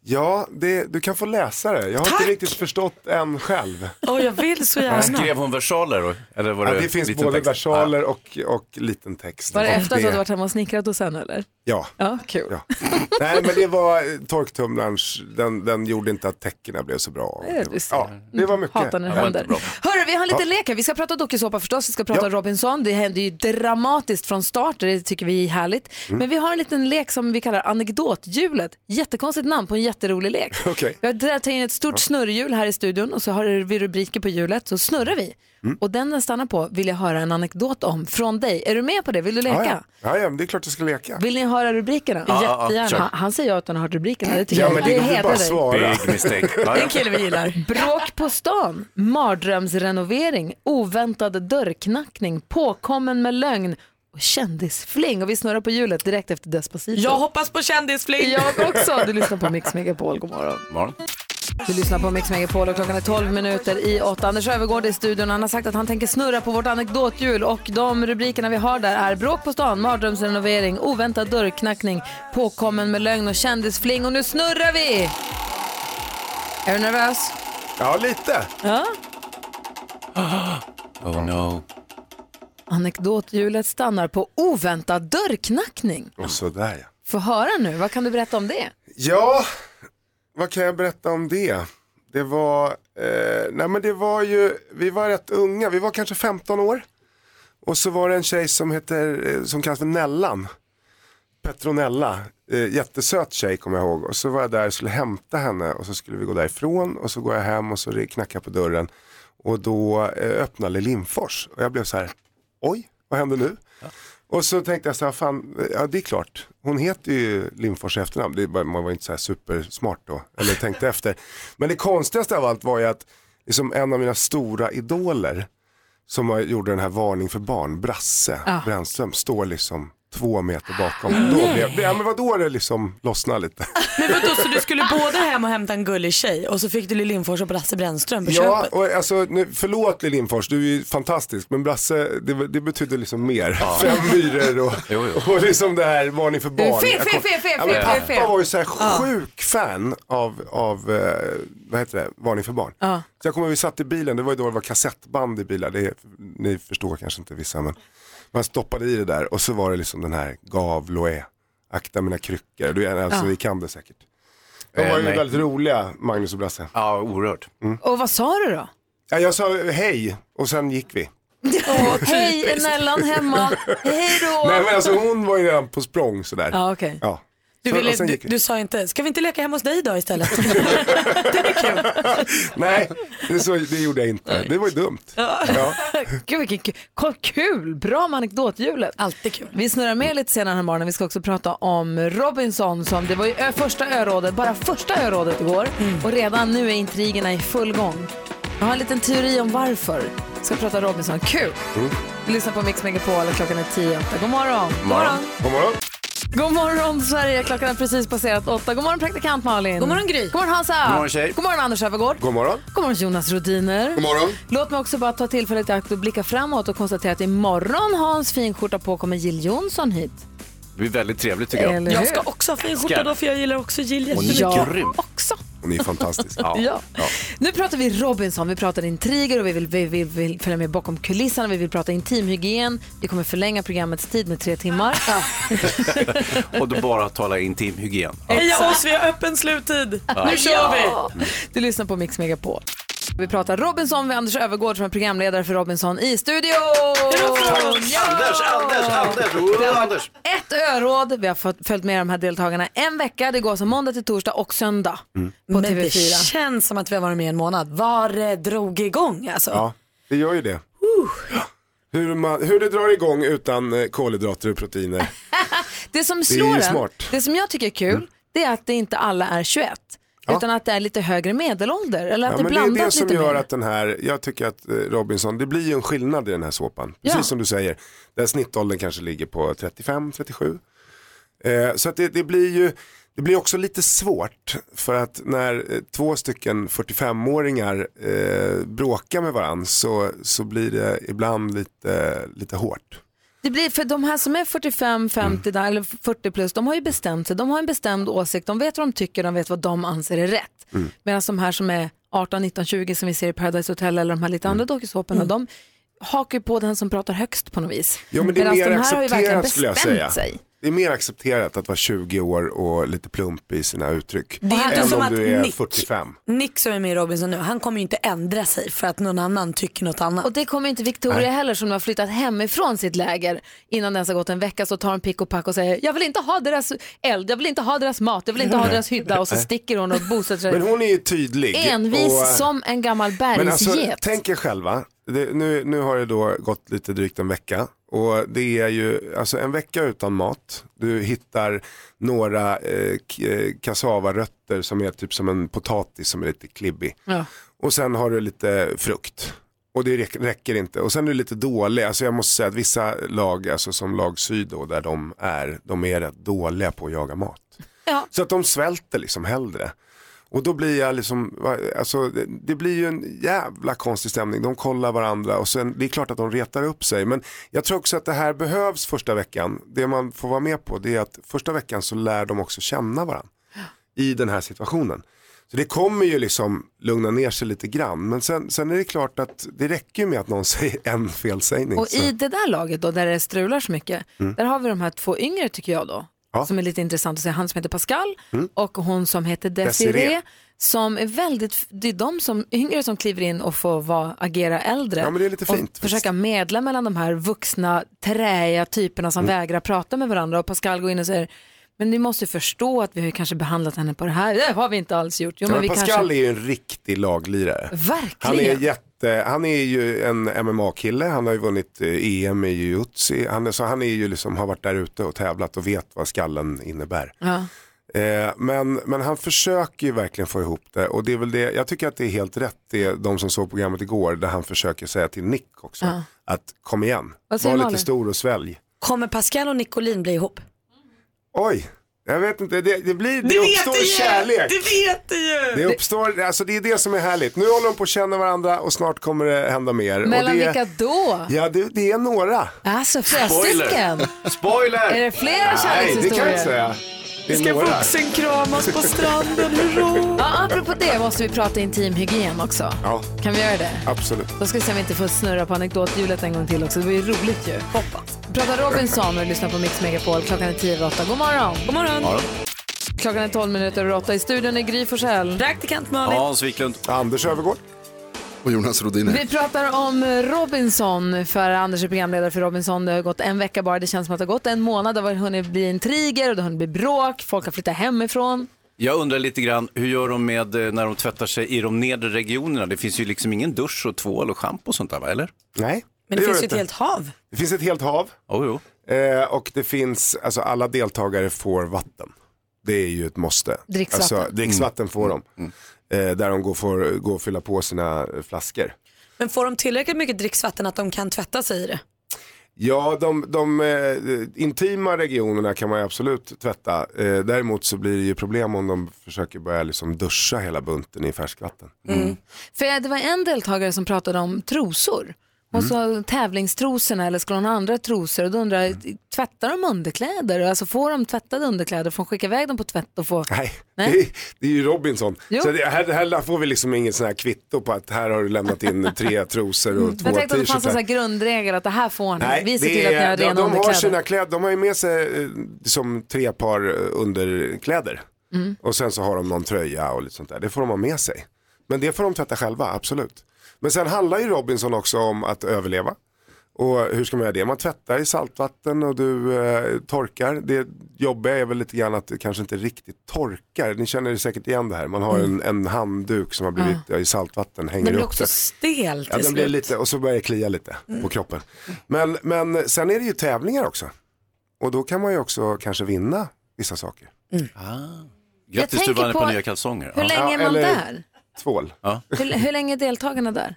Speaker 6: Ja, det, du kan få läsa det. Jag har inte riktigt förstått än själv.
Speaker 7: Åh, jag vill så gärna.
Speaker 10: Skrev hon versaler? då? Eller var
Speaker 6: Ja,
Speaker 10: det,
Speaker 6: det finns
Speaker 10: liten
Speaker 6: både
Speaker 10: text?
Speaker 6: versaler och, och liten text.
Speaker 5: Var det
Speaker 6: Och
Speaker 5: efter att du hade varit hemma och snickrat och sen eller?
Speaker 6: Ja.
Speaker 5: Ja, kul.
Speaker 6: Ja. Nej, men det var eh, torktumlarens, den, den gjorde inte att tecknen blev så bra.
Speaker 5: Ja, du ser. Mm,
Speaker 6: Ja, det var mycket.
Speaker 5: Hatar när det Ja, det var händer. inte bra. Hörru, vi har en liten
Speaker 6: Ja.
Speaker 5: lek här. Vi ska prata dokusåpa förstås, vi ska prata Robinson. Det händer ju dramatiskt från start och det tycker vi är härligt.
Speaker 6: Mm.
Speaker 5: Men vi har en liten lek som vi kallar anekdothjulet. Jättekonstigt namn på en jätterolig lek.
Speaker 6: Okej.
Speaker 5: Jag tar in ett stort snurrhjul här i studion och så har vi rubriker på hjulet så snurrar vi.
Speaker 6: Mm.
Speaker 5: Och den den stannar på vill jag höra en anekdot om från dig. Är du med på det? Vill du leka?
Speaker 6: Ja, ja. ja, ja, men det är klart jag ska leka.
Speaker 5: Vill ni höra rubrikerna?
Speaker 6: Ja, ja, ja, kör.
Speaker 5: Han, han säger ja utan att ha hört rubrikerna. Det tycker
Speaker 6: Ja,
Speaker 5: jag
Speaker 6: men det går ju bara att
Speaker 5: dig.
Speaker 6: svara. Big mistake. Ja, ja. Det är en kille vi
Speaker 7: gillar.
Speaker 5: Bråk på stan, mardrömsrenovering, oväntad dörrknackning, påkommen med lögn och kändisfling. Och vi snurrar på hjulet direkt efter Despacito.
Speaker 7: Jag hoppas på kändisfling.
Speaker 5: Jag också. Du lyssnar på Mix Megapol. God morgon. Du lyssnar på Mix Megapol och klockan är 12 minuter i 8. Anders Övergård är i studion. Han har sagt att han tänker snurra på vårt anekdothjul och de rubrikerna vi har där är bråk på stan, mardrömsrenovering, oväntad dörrknackning, påkommen med lögn och kändisfling. Och nu snurrar vi! Är du nervös?
Speaker 6: Ja, lite.
Speaker 5: Ja.
Speaker 10: Oh no.
Speaker 5: Anekdothjulet stannar på oväntad dörrknackning.
Speaker 6: Och sådär ja.
Speaker 5: Få höra nu, vad kan du berätta om det?
Speaker 6: Ja, vad kan jag berätta om det? Det var, eh, nej men det var ju, vi var rätt unga, vi var kanske 15 år. Och så var det en tjej som heter, eh, som kallas för Nellan. Petronella, eh, jättesöt tjej kommer jag ihåg. Och så var jag där och skulle hämta henne och så skulle vi gå därifrån och så går jag hem och så ri- knackar jag på dörren. Och då eh, öppnar Lindfors och jag blev så här, oj, vad händer nu? Och så tänkte jag så här, fan, ja det är klart, hon heter ju Lindfors i efternamn, det är bara, man var ju inte så här supersmart då, eller tänkte efter. Men det konstigaste av allt var ju att liksom, en av mina stora idoler som har- gjorde den här varning för barn, Brasse Brännström, står liksom två meter bakom. Då blev, ja, men vadå det liksom lossnade lite.
Speaker 7: Men vadå, så du skulle både hem och hämta en gullig tjej och så fick du Lill Lindfors och Brasse Brännström på
Speaker 6: Ja,
Speaker 7: köpet?
Speaker 6: och alltså, nu, förlåt Lill Lindfors, du är ju fantastisk, men Brasse, det, det betyder liksom mer. Fem myror och, och liksom det här varning för
Speaker 5: Du är
Speaker 6: barn.
Speaker 5: fel,
Speaker 6: Jag
Speaker 5: fel,
Speaker 6: kom-
Speaker 5: fel, fel,
Speaker 6: Ja, men
Speaker 5: fel,
Speaker 6: pappa
Speaker 5: fel, fel.
Speaker 6: var ju så här
Speaker 5: Ja.
Speaker 6: sjuk fan av, av eh, vad heter det, varning för barn.
Speaker 5: Ja.
Speaker 6: Så jag kommer ihåg, vi satt i bilen, det var ju då det var kassettband i bilar, det, är- ni förstår kanske inte vissa men man stoppade i det där och så var det liksom den här gav Loé, akta mina kryckor, du, alltså,
Speaker 5: Ja.
Speaker 6: ni kan det säkert. De
Speaker 5: Eh,
Speaker 6: var ju
Speaker 5: nej.
Speaker 6: väldigt roliga, Magnus och Brasse.
Speaker 10: Ja, oerhört.
Speaker 5: Och vad sa du då?
Speaker 6: Ja, jag sa hej och sen gick vi.
Speaker 5: Hej, Nellan hemma. Hej då!
Speaker 6: Nej men alltså hon var ju redan på språng sådär.
Speaker 5: Ja, okej.
Speaker 6: Ja.
Speaker 7: Du,
Speaker 6: Och- och
Speaker 7: ville,
Speaker 6: sen
Speaker 7: du,
Speaker 6: gick vi.
Speaker 7: du sa inte, ska vi inte leka hemma hos dig idag istället?
Speaker 6: Nej, det, så, det gjorde jag inte. Det var ju dumt. Ja.
Speaker 5: Gud vilken kul. Kom, kul, bra med anekdothjulet.
Speaker 7: Alltid kul.
Speaker 5: Vi snurrar med lite senare den här morgonen. Vi ska också prata om Robinson som det var ju ö- första örådet, bara första örådet igår och redan nu är intrigerna i full gång. Jag har en liten teori om varför. Vi ska prata Robinson, kul. Vi lyssnar på Mix Megapol och klockan är tio åtta. God morgon. God morgon.
Speaker 6: Mm. God morgon.
Speaker 5: God morgon Sverige, klockan har precis passerat åtta. God morgon praktikant Malin. God morgon Gry. God morgon Hansa.
Speaker 6: God morgon, tjej.
Speaker 5: God morgon Anders Öfvergård.
Speaker 6: God morgon.
Speaker 5: God morgon Jonas Rodiner.
Speaker 6: God morgon.
Speaker 5: Låt mig också bara ta tillfället i akt och blicka framåt och konstatera att imorgon Hans finskjorta på kommer Jill Johnson hit.
Speaker 10: Det blir väldigt trevligt tycker jag.
Speaker 5: Eller hur?
Speaker 7: Jag ska också ha finskjorta
Speaker 10: Ska.
Speaker 7: då för jag gillar också Jill
Speaker 10: Hon är
Speaker 7: jättemycket.
Speaker 10: grym.
Speaker 5: Också.
Speaker 6: Hon är fantastisk.
Speaker 5: Ja. Nu pratar vi Robinson, vi pratar intriger och vi vill, vi vill, vill följa med bakom kulisserna, vi vill prata intimhygien, vi kommer förlänga programmets tid med tre timmar.
Speaker 10: Och då bara tala intimhygien.
Speaker 7: Heja oss, vi har öppen sluttid.
Speaker 10: Ja.
Speaker 7: Nu kör vi.
Speaker 5: Du lyssnar på Mix Megapol. Vi pratar Robinson med Anders Övergård som är programledare för Robinson i studion.
Speaker 10: Anders, Anders, Anders! Oh, Anders.
Speaker 5: Ett öråd. Vi har fått, följt med de här deltagarna en vecka. Det går som måndag till torsdag och söndag på
Speaker 6: Mm.
Speaker 7: Men det
Speaker 5: TV4.
Speaker 7: känns som att vi har varit med i en månad. Var det drog igång alltså.
Speaker 6: Ja, det gör ju det. Hur, man, hur det drar igång utan eh, kolhydrater och proteiner.
Speaker 5: Det som
Speaker 6: Det är ju Mm.
Speaker 5: slår en,
Speaker 6: smart.
Speaker 5: det som jag tycker är kul, det är att det inte alla är 21. Utan att det är lite högre medelålder. Eller att
Speaker 6: Ja,
Speaker 5: det
Speaker 6: men det är det
Speaker 5: blandas
Speaker 6: som
Speaker 5: lite
Speaker 6: gör
Speaker 5: mer.
Speaker 6: att den här, jag tycker att eh, Robinson, det blir ju en skillnad i den här såpan. Precis
Speaker 5: Ja.
Speaker 6: som du säger, där snittåldern kanske ligger på 35-37. Eh, så att det, det blir ju, det blir också lite svårt för att när eh, två stycken 45-åringar eh, bråkar med varandra så, så blir det ibland lite, lite hårt.
Speaker 5: Det blir för de här som är 45, 50
Speaker 6: Mm.
Speaker 5: där, eller 40 plus, de har ju bestämt sig. De har en bestämd åsikt. De vet vad de tycker, de vet vad de anser är rätt. Mm. Medan de här som är 18, 19, 20 som vi ser i Paradise Hotel eller de här
Speaker 6: Mm.
Speaker 5: lite andra dokusåporna, de hakar ju på den som pratar högst på något vis.
Speaker 6: Ja men det är
Speaker 5: Medan
Speaker 6: mer
Speaker 5: de här har ju verkligen
Speaker 6: accepterat skulle jag
Speaker 5: bestämt
Speaker 6: säga.
Speaker 5: sig.
Speaker 6: Det är mer accepterat att vara 20 år och lite plump i sina uttryck.
Speaker 5: Mm.
Speaker 7: Det är inte
Speaker 6: än
Speaker 7: som
Speaker 6: om
Speaker 7: att
Speaker 6: du är
Speaker 7: Nick-
Speaker 6: 45.
Speaker 7: Nick som är med i Robinson nu, han kommer ju inte ändra sig för att någon annan tycker något annat.
Speaker 5: Och det kommer inte Victoria
Speaker 7: Nej.
Speaker 5: heller som har flyttat hemifrån sitt läger innan det ens har gått en vecka så tar hon pick och pack och säger jag vill inte ha deras eld, jag vill inte ha deras mat, jag vill inte ha deras hydda och så
Speaker 6: Nej.
Speaker 5: sticker hon och bosätter sig.
Speaker 6: Men hon är ju tydlig.
Speaker 5: Envis
Speaker 6: och, eh,
Speaker 5: som en gammal
Speaker 6: Men alltså,
Speaker 5: bergsget.
Speaker 6: tänk er själva, det, nu, nu har det då gått lite drygt en vecka och det är ju alltså en vecka utan mat. Du hittar några eh, k- eh, kassavarötter som är typ som en potatis som är lite klibbig.
Speaker 5: Ja.
Speaker 6: Och sen har du lite frukt. Och det räck- räcker inte. Och sen är du lite dålig. Alltså jag måste säga att vissa lag, alltså som lag syd då, där de är, de är rätt dåliga på att jaga mat. Så att de svälter liksom hellre. Och då blir jag liksom, va- alltså, det- det blir ju en jävla konstig stämning. De kollar varandra och sen, det är klart att de retar upp sig. Men jag tror också att det här behövs första veckan. Det man får vara med på det är att första veckan så lär de också känna varandra i den här situationen. Så det kommer ju liksom lugna ner sig lite grann. Men sen, sen är det klart att det räcker ju med att någon säger en felsägning.
Speaker 5: Och
Speaker 6: så. Mm.
Speaker 5: i det där laget då, där det strular så mycket, där har vi de här två yngre tycker jag då, som är lite intressant att se. Han som heter Pascal
Speaker 6: Mm.
Speaker 5: och hon som heter Desiree,
Speaker 6: Desiree.
Speaker 5: som är väldigt, det är de som, yngre som kliver in och får vara, agera äldre.
Speaker 6: Ja, men det är lite
Speaker 5: och
Speaker 6: fint,
Speaker 5: försöka medla mellan de här vuxna, träiga typerna som
Speaker 6: Mm.
Speaker 5: vägrar prata med varandra och Pascal går in och säger men ni måste förstå att vi har ju kanske behandlat henne på det här, det har vi inte alls gjort. Jo,
Speaker 6: Ja,
Speaker 5: men vi
Speaker 6: Pascal
Speaker 5: kanske...
Speaker 6: är ju en riktig laglirare. Han
Speaker 5: Verkligen.
Speaker 6: är, jätte, han är ju en MMA-kille, han har ju vunnit eh, EM i jujutsu, han, är- så han är ju liksom, har varit där ute och tävlat och vet vad skallen innebär.
Speaker 5: Ja.
Speaker 6: Eh, men, men han försöker ju verkligen få ihop det och det är väl det, jag tycker att det är helt rätt det de som såg programmet igår där han försöker säga till Nick också
Speaker 7: Ja.
Speaker 6: att kom igen,
Speaker 7: Vad säger
Speaker 6: var lite
Speaker 7: Malin?
Speaker 6: stor och svälj.
Speaker 7: Kommer Pascal och Nicolin bli ihop?
Speaker 6: Oj, jag vet inte, det, det blir, det,
Speaker 7: Du vet
Speaker 6: uppstår
Speaker 7: det ju!
Speaker 6: kärlek.
Speaker 7: Du vet det ju!
Speaker 6: Det uppstår, alltså det är det som är härligt. Nu håller de på att känna varandra och snart kommer det hända mer.
Speaker 5: Mellan
Speaker 6: och det,
Speaker 5: vilka då?
Speaker 6: Ja, det, det är några.
Speaker 5: Alltså fräsiken.
Speaker 10: Spoiler!
Speaker 5: Är det flera kärlekshistorier?
Speaker 6: Nej, det kan jag inte säga. Det är några.
Speaker 5: kramas
Speaker 6: på stranden, hurra!
Speaker 5: Ja, apropå det måste vi prata intimhygien också.
Speaker 6: Ja,
Speaker 5: Kan vi göra det?
Speaker 6: absolut.
Speaker 5: Då ska vi se om vi inte får snurra på anekdothjulet en gång till också. Det var ju roligt ju. Hoppas. Prata Robinson och lyssna på Mix Megapol. Klockan är tio över åtta. God morgon! God morgon! Klockan är 12 minuter över åtta. I studion är Gry Forssell.
Speaker 7: Praktikant
Speaker 6: Hans Wiklund. Anders Övergård.
Speaker 13: Och Jonas Rodiner.
Speaker 5: Vi pratar om Robinson, för Anders är programledare för Robinson. Det har gått en vecka bara, det känns som att det har gått en månad. Det har hunnit bli intriger och det har hunnit bli bråk, folk har flyttat hemifrån.
Speaker 10: Jag undrar lite grann, hur gör de med eh, när de tvättar sig i de nedre regionerna? Det finns ju liksom ingen dusch och tvål och schampo och sånt där, va? eller?
Speaker 6: Nej.
Speaker 7: Men det,
Speaker 6: gör
Speaker 7: finns ju ett
Speaker 6: inte.
Speaker 7: helt hav.
Speaker 6: Det finns ett helt hav. Eh, och det finns, alltså alla deltagare får vatten. Det är ju ett måste.
Speaker 7: Dricksvatten.
Speaker 6: Alltså, dricksvatten får
Speaker 13: Mm.
Speaker 6: de. Eh, där de går, får gå och fylla på sina flaskor.
Speaker 7: Men får de tillräckligt mycket dricksvatten att de kan tvätta sig i det?
Speaker 6: Ja, de, de eh, intima regionerna kan man ju absolut tvätta. Eh, däremot så blir det ju problem om de försöker börja liksom duscha hela bunten i färskvatten.
Speaker 5: För det var en deltagare som pratade om trosor. Hon
Speaker 6: Mm.
Speaker 5: sa tävlingstrosorna eller skulle hon ha andra trosor? Och då undrar jag, tvättar de underkläder? Alltså får de tvättade underkläder? Får hon skicka iväg dem på tvätt och få?
Speaker 6: Nej,
Speaker 5: Nej.
Speaker 6: Det, är, det är ju Robinson.
Speaker 5: Jo.
Speaker 6: Så det, här, här får vi liksom ingen sån här kvitto på att här har du lämnat in tre trosor och två
Speaker 5: Mm. Jag tänkte att det fanns en sån här
Speaker 6: t-shirtar.
Speaker 5: grundregel att det här får ni.
Speaker 6: Nej,
Speaker 5: Vi ser
Speaker 6: det
Speaker 5: till att ni
Speaker 6: är-
Speaker 5: har
Speaker 6: de,
Speaker 5: rena
Speaker 6: de har
Speaker 5: underkläder.
Speaker 6: sina kläder, de har ju med sig eh, som tre par eh, underkläder.
Speaker 5: Mm.
Speaker 6: Och sen så har de någon tröja och lite sånt där. Det får de ha med sig. Men det får de tvätta själva, absolut. Men sen handlar ju Robinson också om att överleva. Och hur ska man göra det? Man tvättar i saltvatten och du eh, torkar. Det jobbiga är väl lite grann att det kanske inte riktigt torkar. Ni känner säkert igen det här. Man har en, en handduk som har blivit i saltvatten, hänger
Speaker 7: Den blir
Speaker 6: upp
Speaker 7: också
Speaker 6: det.
Speaker 7: stel till
Speaker 6: Ja, den blir
Speaker 7: slut.
Speaker 6: lite, och så börjar det klia lite på
Speaker 7: Mm.
Speaker 6: kroppen. Men, men sen är det ju tävlingar också. Och då kan man ju också kanske vinna vissa saker.
Speaker 10: Grattis, du
Speaker 5: tänker
Speaker 10: vann på,
Speaker 5: på-
Speaker 10: nya kalsonger.
Speaker 5: Hur länge är man
Speaker 6: eller-
Speaker 5: där?
Speaker 6: Tvål.
Speaker 5: Hur, hur länge är deltagarna där?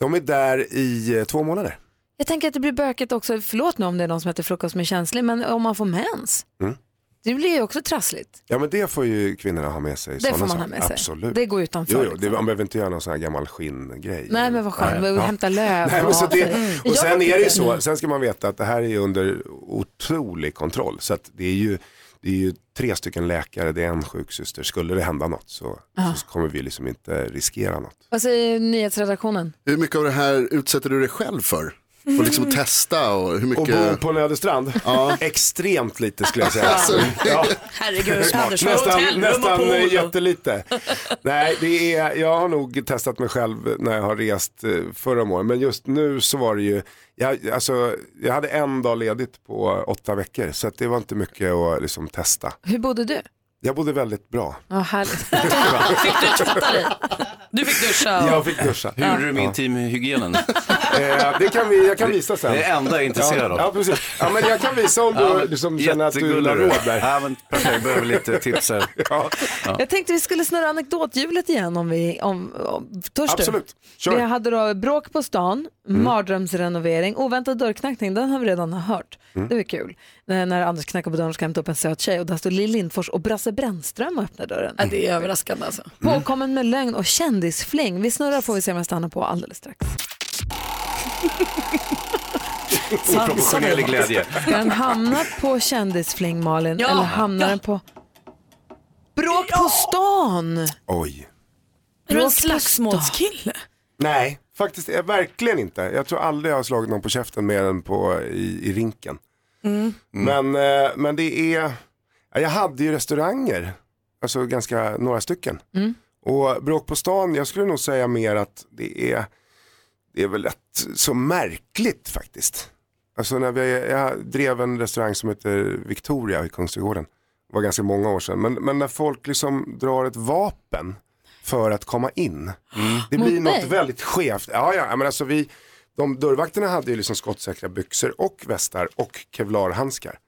Speaker 6: De är där i eh, två månader.
Speaker 5: Jag tänker att det blir bökigt också, förlåt nu om det är någon som äter frukost som är känslig, men om man får mens,
Speaker 6: Mm.
Speaker 5: det blir ju också trassligt.
Speaker 6: Ja men det får ju kvinnorna ha med sig.
Speaker 5: Det
Speaker 6: såna
Speaker 5: får man
Speaker 6: saker.
Speaker 5: ha med sig.
Speaker 6: Absolut.
Speaker 5: Det går utanför,
Speaker 6: Jo, jo, det, man behöver inte göra någon sån här gammal skinngrej.
Speaker 5: Nej men vad skönt,
Speaker 6: Nej.
Speaker 5: ja. hämta löv
Speaker 6: Nej, men så
Speaker 5: och- Mm.
Speaker 6: det, och
Speaker 5: Jag
Speaker 6: sen
Speaker 5: vet
Speaker 6: är det ju
Speaker 5: inte.
Speaker 6: så, sen ska man veta att det här är ju under otrolig kontroll. Så att det är ju, det är ju tre stycken läkare, det är en sjuksyster. Skulle det hända något så,
Speaker 5: Ja.
Speaker 6: så kommer vi liksom inte riskera något.
Speaker 5: Vad säger nyhetsredaktionen?
Speaker 13: Hur mycket av det här utsätter du dig själv för? Och liksom testa och hur mycket...
Speaker 6: Och bo på en ödestrand?
Speaker 13: Ja.
Speaker 6: Extremt lite skulle jag säga.
Speaker 13: Alltså.
Speaker 6: Ja.
Speaker 7: Herregud, Anders har
Speaker 6: nästan
Speaker 7: hotellrum och
Speaker 6: nästan
Speaker 7: pool
Speaker 6: eh,
Speaker 7: och-
Speaker 6: jättelite. Nej, det är, jag har nog testat mig själv när jag har rest eh, förra om året. Men just nu så var det ju, jag, alltså, jag hade en dag ledigt på åtta veckor. Så att det var inte mycket att liksom, testa.
Speaker 5: Hur bodde du?
Speaker 6: Jag bodde väldigt bra.
Speaker 5: Ja, härligt.
Speaker 7: Fick du tvätta dig? Du fick duscha? och-
Speaker 6: Jag fick duscha.
Speaker 10: Hur gjorde du med intimhygienen?
Speaker 6: Eh, det kan vi, jag kan visa sen.
Speaker 10: Det är det enda jag är intresserad
Speaker 6: ja,
Speaker 10: av.
Speaker 6: Ja, precis. Ja, men jag kan visa om du
Speaker 10: Ja, men
Speaker 6: liksom, känner att du vill ha
Speaker 10: jättegullig
Speaker 6: råd
Speaker 10: du är.
Speaker 6: där.
Speaker 10: Ja, men perfekt. Jag behöver lite tips här.
Speaker 6: Ja.
Speaker 5: Jag tänkte vi skulle snurra anekdothjulet igen om vi, om, om, törs du?
Speaker 10: Absolut. Kör.
Speaker 5: Vi hade då bråk på stan,
Speaker 6: Mm.
Speaker 5: mardrömsrenovering, oväntad dörrknackning, den har vi redan hört.
Speaker 2: Mm.
Speaker 5: Det var kul. När, när Anders knackar på dörren och ska hämta upp en söt tjej och där står Lill Lindfors och Brasse Brännström och öppnar dörren.
Speaker 6: Mm.
Speaker 5: Mm.
Speaker 7: Ja, det är överraskande alltså.
Speaker 5: Påkommen med lögn och kändisfling. Vi snurrar får vi se om jag stannar på alldeles strax.
Speaker 10: Oproportionerlig glädje.
Speaker 5: Ska den hamna på kändisfling Malin
Speaker 7: Ja,
Speaker 5: eller hamnar
Speaker 7: ja.
Speaker 5: den på bråk på stan?
Speaker 6: Oj.
Speaker 7: Är du en slagsmålskille?
Speaker 6: Nej, faktiskt eh, verkligen inte. Jag tror aldrig jag har slagit någon på käften mer än på, i, i rinken.
Speaker 7: Mm.
Speaker 6: Men, eh, men det är, ja, jag hade ju restauranger, alltså ganska några stycken.
Speaker 5: Mm.
Speaker 6: Och bråk på stan, jag skulle nog säga mer att det är, det är väl rätt så märkligt faktiskt. Alltså när vi, jag drev en restaurang som heter Victoria i Kungsträdgården. Det var ganska många år sedan. Men, men när folk liksom drar ett vapen för att komma in. Det
Speaker 19: Mot
Speaker 6: blir något
Speaker 19: dig?
Speaker 6: väldigt skevt. Ja, ja, men alltså vi, de dörrvakterna hade ju liksom skottsäkra byxor och västar och kevlarhandskar.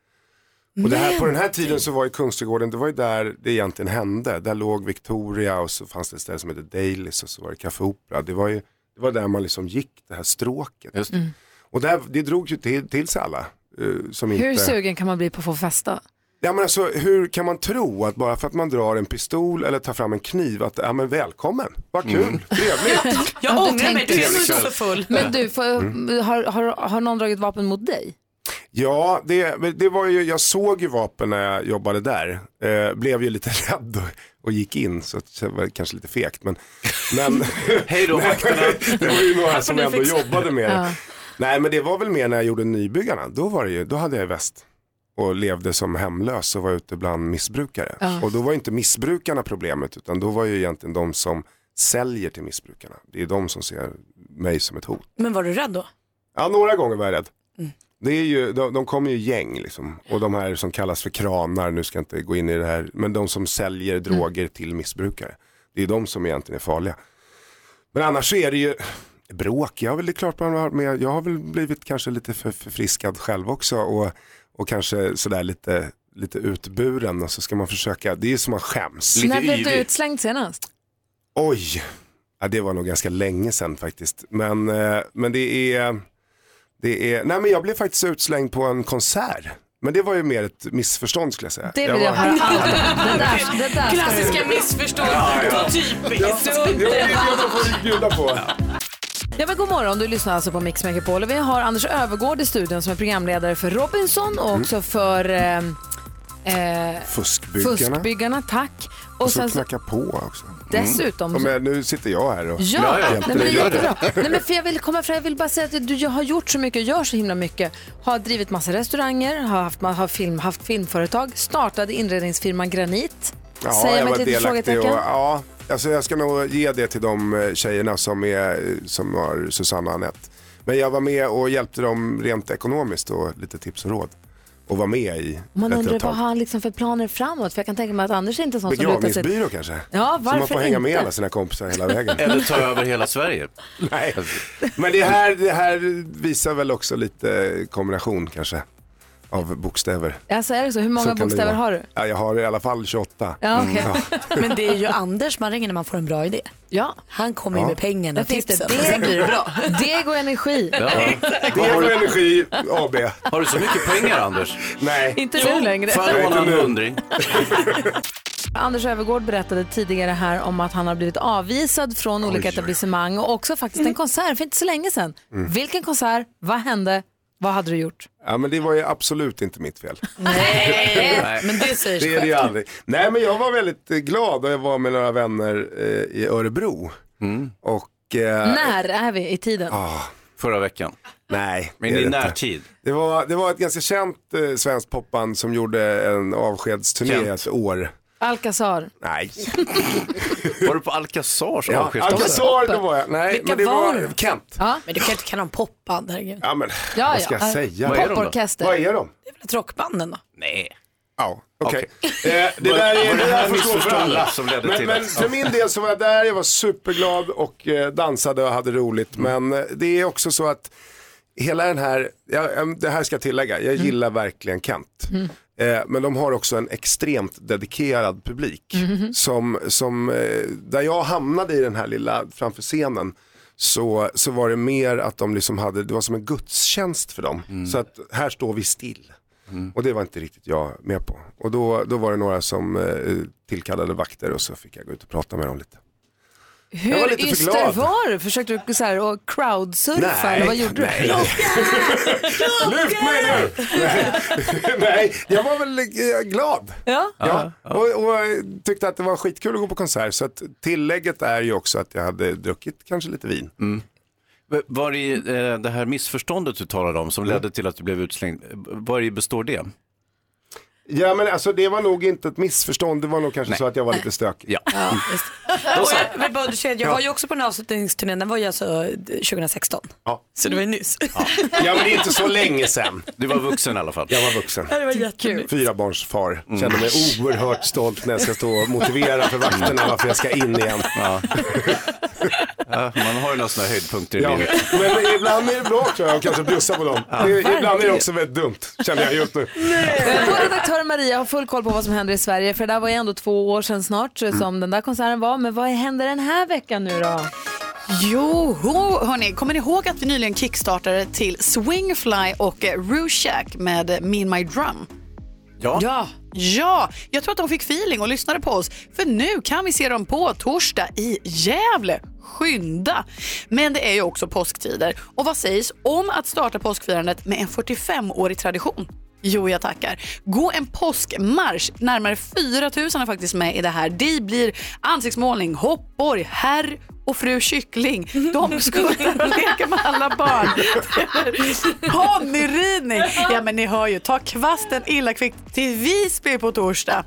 Speaker 6: Och det här, på den här tiden så var ju Kungsträdgården, det var ju där det egentligen hände. Där låg Victoria och så fanns det ett ställe som hette Dailys och så var det Café Opera. Det var ju det var där man liksom gick, det här stråket. Mm. Och där, det drog ju till, till sig alla. eh, som
Speaker 5: Hur
Speaker 6: inte...
Speaker 5: sugen kan man bli på att få festa?
Speaker 6: Ja, men alltså, hur kan man tro att bara för att man drar en pistol eller tar fram en kniv att, ja men välkommen, vad kul,
Speaker 19: Mm.
Speaker 6: trevligt.
Speaker 7: Jag
Speaker 5: Ja, du
Speaker 7: ångrar mig,
Speaker 5: tänkte-
Speaker 7: du är nog så full.
Speaker 5: Men du, får,
Speaker 6: Mm.
Speaker 5: har, har, har någon dragit vapen mot dig?
Speaker 6: Ja, det, men det var ju, jag såg ju vapen när jag jobbade där. Eh, blev ju lite rädd och, och gick in så att det var kanske lite fegt. Men, men,
Speaker 10: Hej då,
Speaker 6: Nej,
Speaker 10: vakterna.
Speaker 6: Det var ju
Speaker 10: Här får
Speaker 6: några som
Speaker 10: ni
Speaker 6: ändå
Speaker 10: fixa.
Speaker 6: jobbade med det.
Speaker 10: Ja.
Speaker 6: Nej men det var väl mer när jag gjorde Nybyggarna. Då, var det ju, då hade jag väst och levde som hemlös och var ute bland missbrukare.
Speaker 5: Ja.
Speaker 6: Och då var ju inte missbrukarna problemet utan då var ju egentligen de som säljer till missbrukarna. Det är de som ser mig som ett hot.
Speaker 7: Men var du rädd då?
Speaker 6: Ja, några gånger var jag rädd.
Speaker 7: Mm.
Speaker 6: Det är ju, de, de kommer ju i gäng liksom. Och de här som kallas för kranar, nu ska jag inte gå in i det här, men de som säljer droger till missbrukare. Det är de som egentligen är farliga. Men annars så är det ju bråk, jag, är väl, det är klart man har, men jag har väl blivit kanske lite för, förfriskad själv också och, och kanske sådär lite, lite utburen och så ska man försöka, det är som man skäms.
Speaker 5: När blev du utslängd senast?
Speaker 6: Oj, ja, det var nog ganska länge sedan faktiskt. Men, eh, men det är, det är, nej men jag blev faktiskt utslängd på en konsert. Men det var ju mer ett missförstånd skulle jag säga.
Speaker 5: Det vill jag höra allt om. Det där- det där ska
Speaker 7: Klassiska
Speaker 5: du-
Speaker 7: missförstånd.
Speaker 6: Ja, ja. bjuda på.
Speaker 5: Ja, men god morgon, du lyssnar alltså på Mix Megapol. Och Vi har Anders Övergård i studion som är programledare för Robinson
Speaker 6: Mm.
Speaker 5: och också för eh, eh,
Speaker 6: Fuskbyggarna.
Speaker 5: Fuskbyggarna, tack.
Speaker 6: Och
Speaker 5: sen
Speaker 6: sen
Speaker 5: så-
Speaker 6: knacka på också.
Speaker 5: Dessutom
Speaker 6: Mm.
Speaker 5: så-
Speaker 6: Ja, Men nu sitter jag här och
Speaker 5: Ja,
Speaker 6: hjälper
Speaker 5: nej, men
Speaker 6: dig.
Speaker 5: jättebra. Nej, men för jag, vill komma, för jag vill bara säga att du jag har gjort så mycket och gör så himla mycket. Har drivit massa restauranger, har haft, har film, haft filmföretag, startade inredningsfirman Granit.
Speaker 6: Ja,
Speaker 5: Säger
Speaker 6: jag
Speaker 5: mig
Speaker 6: var
Speaker 5: ett litet
Speaker 6: delaktig och,
Speaker 5: frågetecken.
Speaker 6: ja, alltså jag ska nog ge det till de eh, tjejerna som, är, eh, som har Susanna och Anette. Men jag var med och hjälpte dem rent ekonomiskt och lite tips och råd. Och var med i
Speaker 5: Man
Speaker 6: ett
Speaker 5: undrar
Speaker 6: tag.
Speaker 5: vad har han liksom för planer framåt? För jag kan tänka mig att Anders är inte sån som lutar sig...
Speaker 6: Begravningsbyrå kanske?
Speaker 5: Ja,
Speaker 6: Så man
Speaker 5: varför
Speaker 6: får hänga med
Speaker 5: inte?
Speaker 6: alla sina kompisar hela vägen.
Speaker 10: Eller ta över hela Sverige.
Speaker 6: Nej. Men det här, det här visar väl också lite kombination kanske av bokstäver.
Speaker 5: Alltså är det så? Hur
Speaker 6: Så
Speaker 5: många
Speaker 6: kan det
Speaker 5: bokstäver
Speaker 6: vara.
Speaker 5: har du?
Speaker 6: Ja, jag har i alla fall 28.
Speaker 5: Ja, okej.
Speaker 6: Mm,
Speaker 7: Men det är ju Anders man ringer när man får en bra idé.
Speaker 5: Ja.
Speaker 7: Han kommer ju
Speaker 6: Ja.
Speaker 7: med pengarna
Speaker 5: Där
Speaker 7: och
Speaker 5: finns det
Speaker 7: tipsen. och Sen blir det bra.
Speaker 5: Deg och energi.
Speaker 6: Dego Energi AB.
Speaker 10: Har du så mycket pengar Anders?
Speaker 6: Nej.
Speaker 5: Inte nu längre.
Speaker 10: Fan,
Speaker 5: Nej,
Speaker 10: jag
Speaker 5: inte
Speaker 10: lånar en
Speaker 5: nu.
Speaker 10: hundring.
Speaker 5: Anders Övergård berättade tidigare här om att han har blivit avvisad från olika etablissemang och också faktiskt
Speaker 7: Mm.
Speaker 5: en konsert för inte så länge sedan.
Speaker 6: Mm.
Speaker 5: Vilken konsert? Vad hände? Vad hade du gjort?
Speaker 6: Ja, men det var ju absolut inte mitt fel.
Speaker 5: Nej,
Speaker 7: men det säger sig
Speaker 6: Det är det ju
Speaker 7: självt.
Speaker 6: aldrig. Nej, men jag var väldigt eh, glad och jag var med några vänner eh, i Örebro.
Speaker 10: Mm.
Speaker 6: Och... eh,
Speaker 5: När är vi i tiden?
Speaker 6: Ah.
Speaker 10: Förra veckan.
Speaker 6: Nej.
Speaker 10: Men
Speaker 6: det
Speaker 10: i
Speaker 6: är det
Speaker 10: närtid.
Speaker 6: Det var, det var ett ganska känt eh, svenskt popband som gjorde en avskedsturné ett år.
Speaker 5: Alcazar.
Speaker 6: Nej.
Speaker 10: Var du på Alcazars
Speaker 6: Ja,
Speaker 10: avskedsturné?
Speaker 6: Alcazar då var jag. Nej,
Speaker 7: Vilka
Speaker 6: men det
Speaker 7: var
Speaker 6: var,
Speaker 7: det?
Speaker 6: Kent.
Speaker 7: Men du kan inte kalla dem popband, herregud.
Speaker 6: Ja, men
Speaker 7: Ja,
Speaker 6: vad ska
Speaker 7: ja.
Speaker 6: jag säga?
Speaker 7: Vad är de då? Poporkester.
Speaker 6: Vad är de?
Speaker 7: Ett rockband ändå.
Speaker 10: Nej.
Speaker 6: Ja, okej.
Speaker 10: Okej.
Speaker 6: Eh, det
Speaker 10: Var-
Speaker 6: där
Speaker 10: var
Speaker 6: är
Speaker 10: det
Speaker 6: det
Speaker 10: här
Speaker 6: där får stå för
Speaker 10: missförståndet
Speaker 6: alla.
Speaker 10: som ledde
Speaker 6: men,
Speaker 10: till
Speaker 6: men
Speaker 10: det?
Speaker 6: för min del så var jag där, jag var superglad och eh, dansade och hade roligt. Men eh, det är också så att hela den här, ja, eh, det här ska jag tillägga, jag gillar verkligen Kent. Eh, Men de har också en extremt dedikerad publik. Som, som, eh, där jag hamnade i den här lilla framför scenen så, så var det mer att de liksom hade, det var som en gudstjänst för dem. Så att här står vi still. Och det var inte riktigt jag med på. Och då, då var det några som eh, tillkallade vakter och så fick jag gå ut och prata med dem lite.
Speaker 5: Hur
Speaker 6: Jag var lite för
Speaker 5: yster
Speaker 6: glad.
Speaker 5: var du? Försökte du så här, och crowdsurfa
Speaker 6: Nej,
Speaker 5: eller vad gjorde du?
Speaker 6: nej. Lyft mig nu! Nej, Nej, jag var väl eh, glad.
Speaker 5: Ja.
Speaker 6: Ja, och, och tyckte att det var skitkul att gå på konsert. Så att tillägget är ju också att jag hade druckit kanske lite vin.
Speaker 10: V- Var i eh, det här missförståndet du talade om
Speaker 6: Mm.
Speaker 10: som ledde till att du blev utslängd, eh, var i består det?
Speaker 6: Ja men alltså det var nog inte ett missförstånd, det var nog kanske så att jag var lite stökig.
Speaker 7: Ja, just. Och
Speaker 6: Alltså-
Speaker 7: jag, men bara, du ser, jag var ju också på den här avslutningsturnén, den var ju alltså 2016.
Speaker 6: Ja.
Speaker 7: Så det var ju nyss.
Speaker 6: Ja men det är inte så länge sedan.
Speaker 10: Du var vuxen i alla fall.
Speaker 6: Jag var vuxen.
Speaker 7: Det var jättekul.
Speaker 6: Fyra barns far. Kände mig oerhört stolt när jag ska stå och motivera för vakterna varför jag ska in igen.
Speaker 10: Mm. Ja. Ja, man har ju några sådana höjdpunkter i
Speaker 6: Ja.
Speaker 10: livet.
Speaker 6: Men ibland är det bra tror jag att kanske bjussa på dem. Det- Ibland är det också väldigt dumt, känner jag just nu.
Speaker 5: Eh, Vår redaktör Maria har full koll på vad som händer i Sverige för det där var ju ändå två år sedan snart eh, som
Speaker 6: Mm.
Speaker 5: den där konserten var. Men vad händer den här veckan nu då?
Speaker 22: Jo, hörni, kommer ni ihåg att vi nyligen kickstartade till Swingfly och eh, Rushack med eh, Mean My Drum?
Speaker 10: Ja.
Speaker 22: ja. Ja, jag tror att de fick feeling och lyssnade på oss. För nu kan vi se dem på torsdag i Gävle. Skynda! Men det är ju också påsktider. Och vad sägs om att starta påskfirandet med en 45-årig tradition? Jo, jag tackar. Gå en påskmarsch. Närmare 4 000 är faktiskt med i det här. Det blir ansiktsmålning, hoppborg, herr och fru kyckling. De skuttar och leker med alla barn. Ponnyridning! Ja, men ni hör ju. Ta kvasten illa kvickt till Visby på torsdag.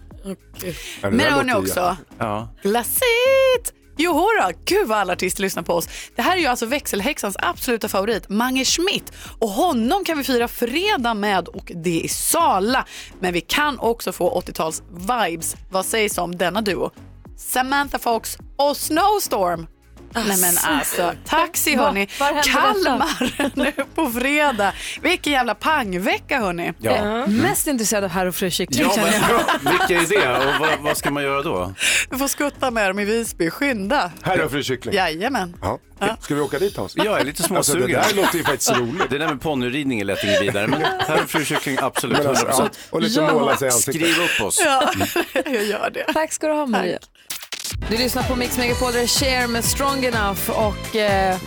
Speaker 22: Men hörni också,
Speaker 10: Ja.
Speaker 22: glasit! Jo, hurra. Gud vad alla artister lyssnar på oss. Det här är ju alltså växelhäxans absoluta favorit, Mange Schmidt. Och honom kan vi fira fredag med och det är Sala. Men vi kan också få 80-tals vibes. Vad sägs om denna duo? Samantha Fox och Snowstorm. Nej men alltså, taxi hörni.
Speaker 5: Var- var händer detta?
Speaker 22: Kalmar nu på fredag. Vilken jävla pangvecka hörni.
Speaker 10: Ja. Mm.
Speaker 5: Mest intresserad av herr och fru kyckling
Speaker 10: Ja,
Speaker 5: känner jag.
Speaker 10: men, vilka är det och vad, vad ska man göra då?
Speaker 22: Du får skutta med dem i Visby, skynda.
Speaker 10: Här har fru kyckling.
Speaker 22: Jajamän.
Speaker 10: Ja.
Speaker 6: Ska vi åka dit Hans?
Speaker 10: Jag är lite småsugen.
Speaker 6: Alltså, det där låter ju faktiskt roligt.
Speaker 10: Det där med ponnyridning är lätt inget vidare, men här har fru kyckling absolut
Speaker 6: Men alltså,
Speaker 10: 100%.
Speaker 6: ja, och lite Ja. måla sig i ansiktet.
Speaker 10: Skriv upp oss.
Speaker 22: Ja, jag gör det.
Speaker 5: Tack ska du ha Maria. Du lyssnar på Mix Megapol, där Cher med Strong Enough och eh,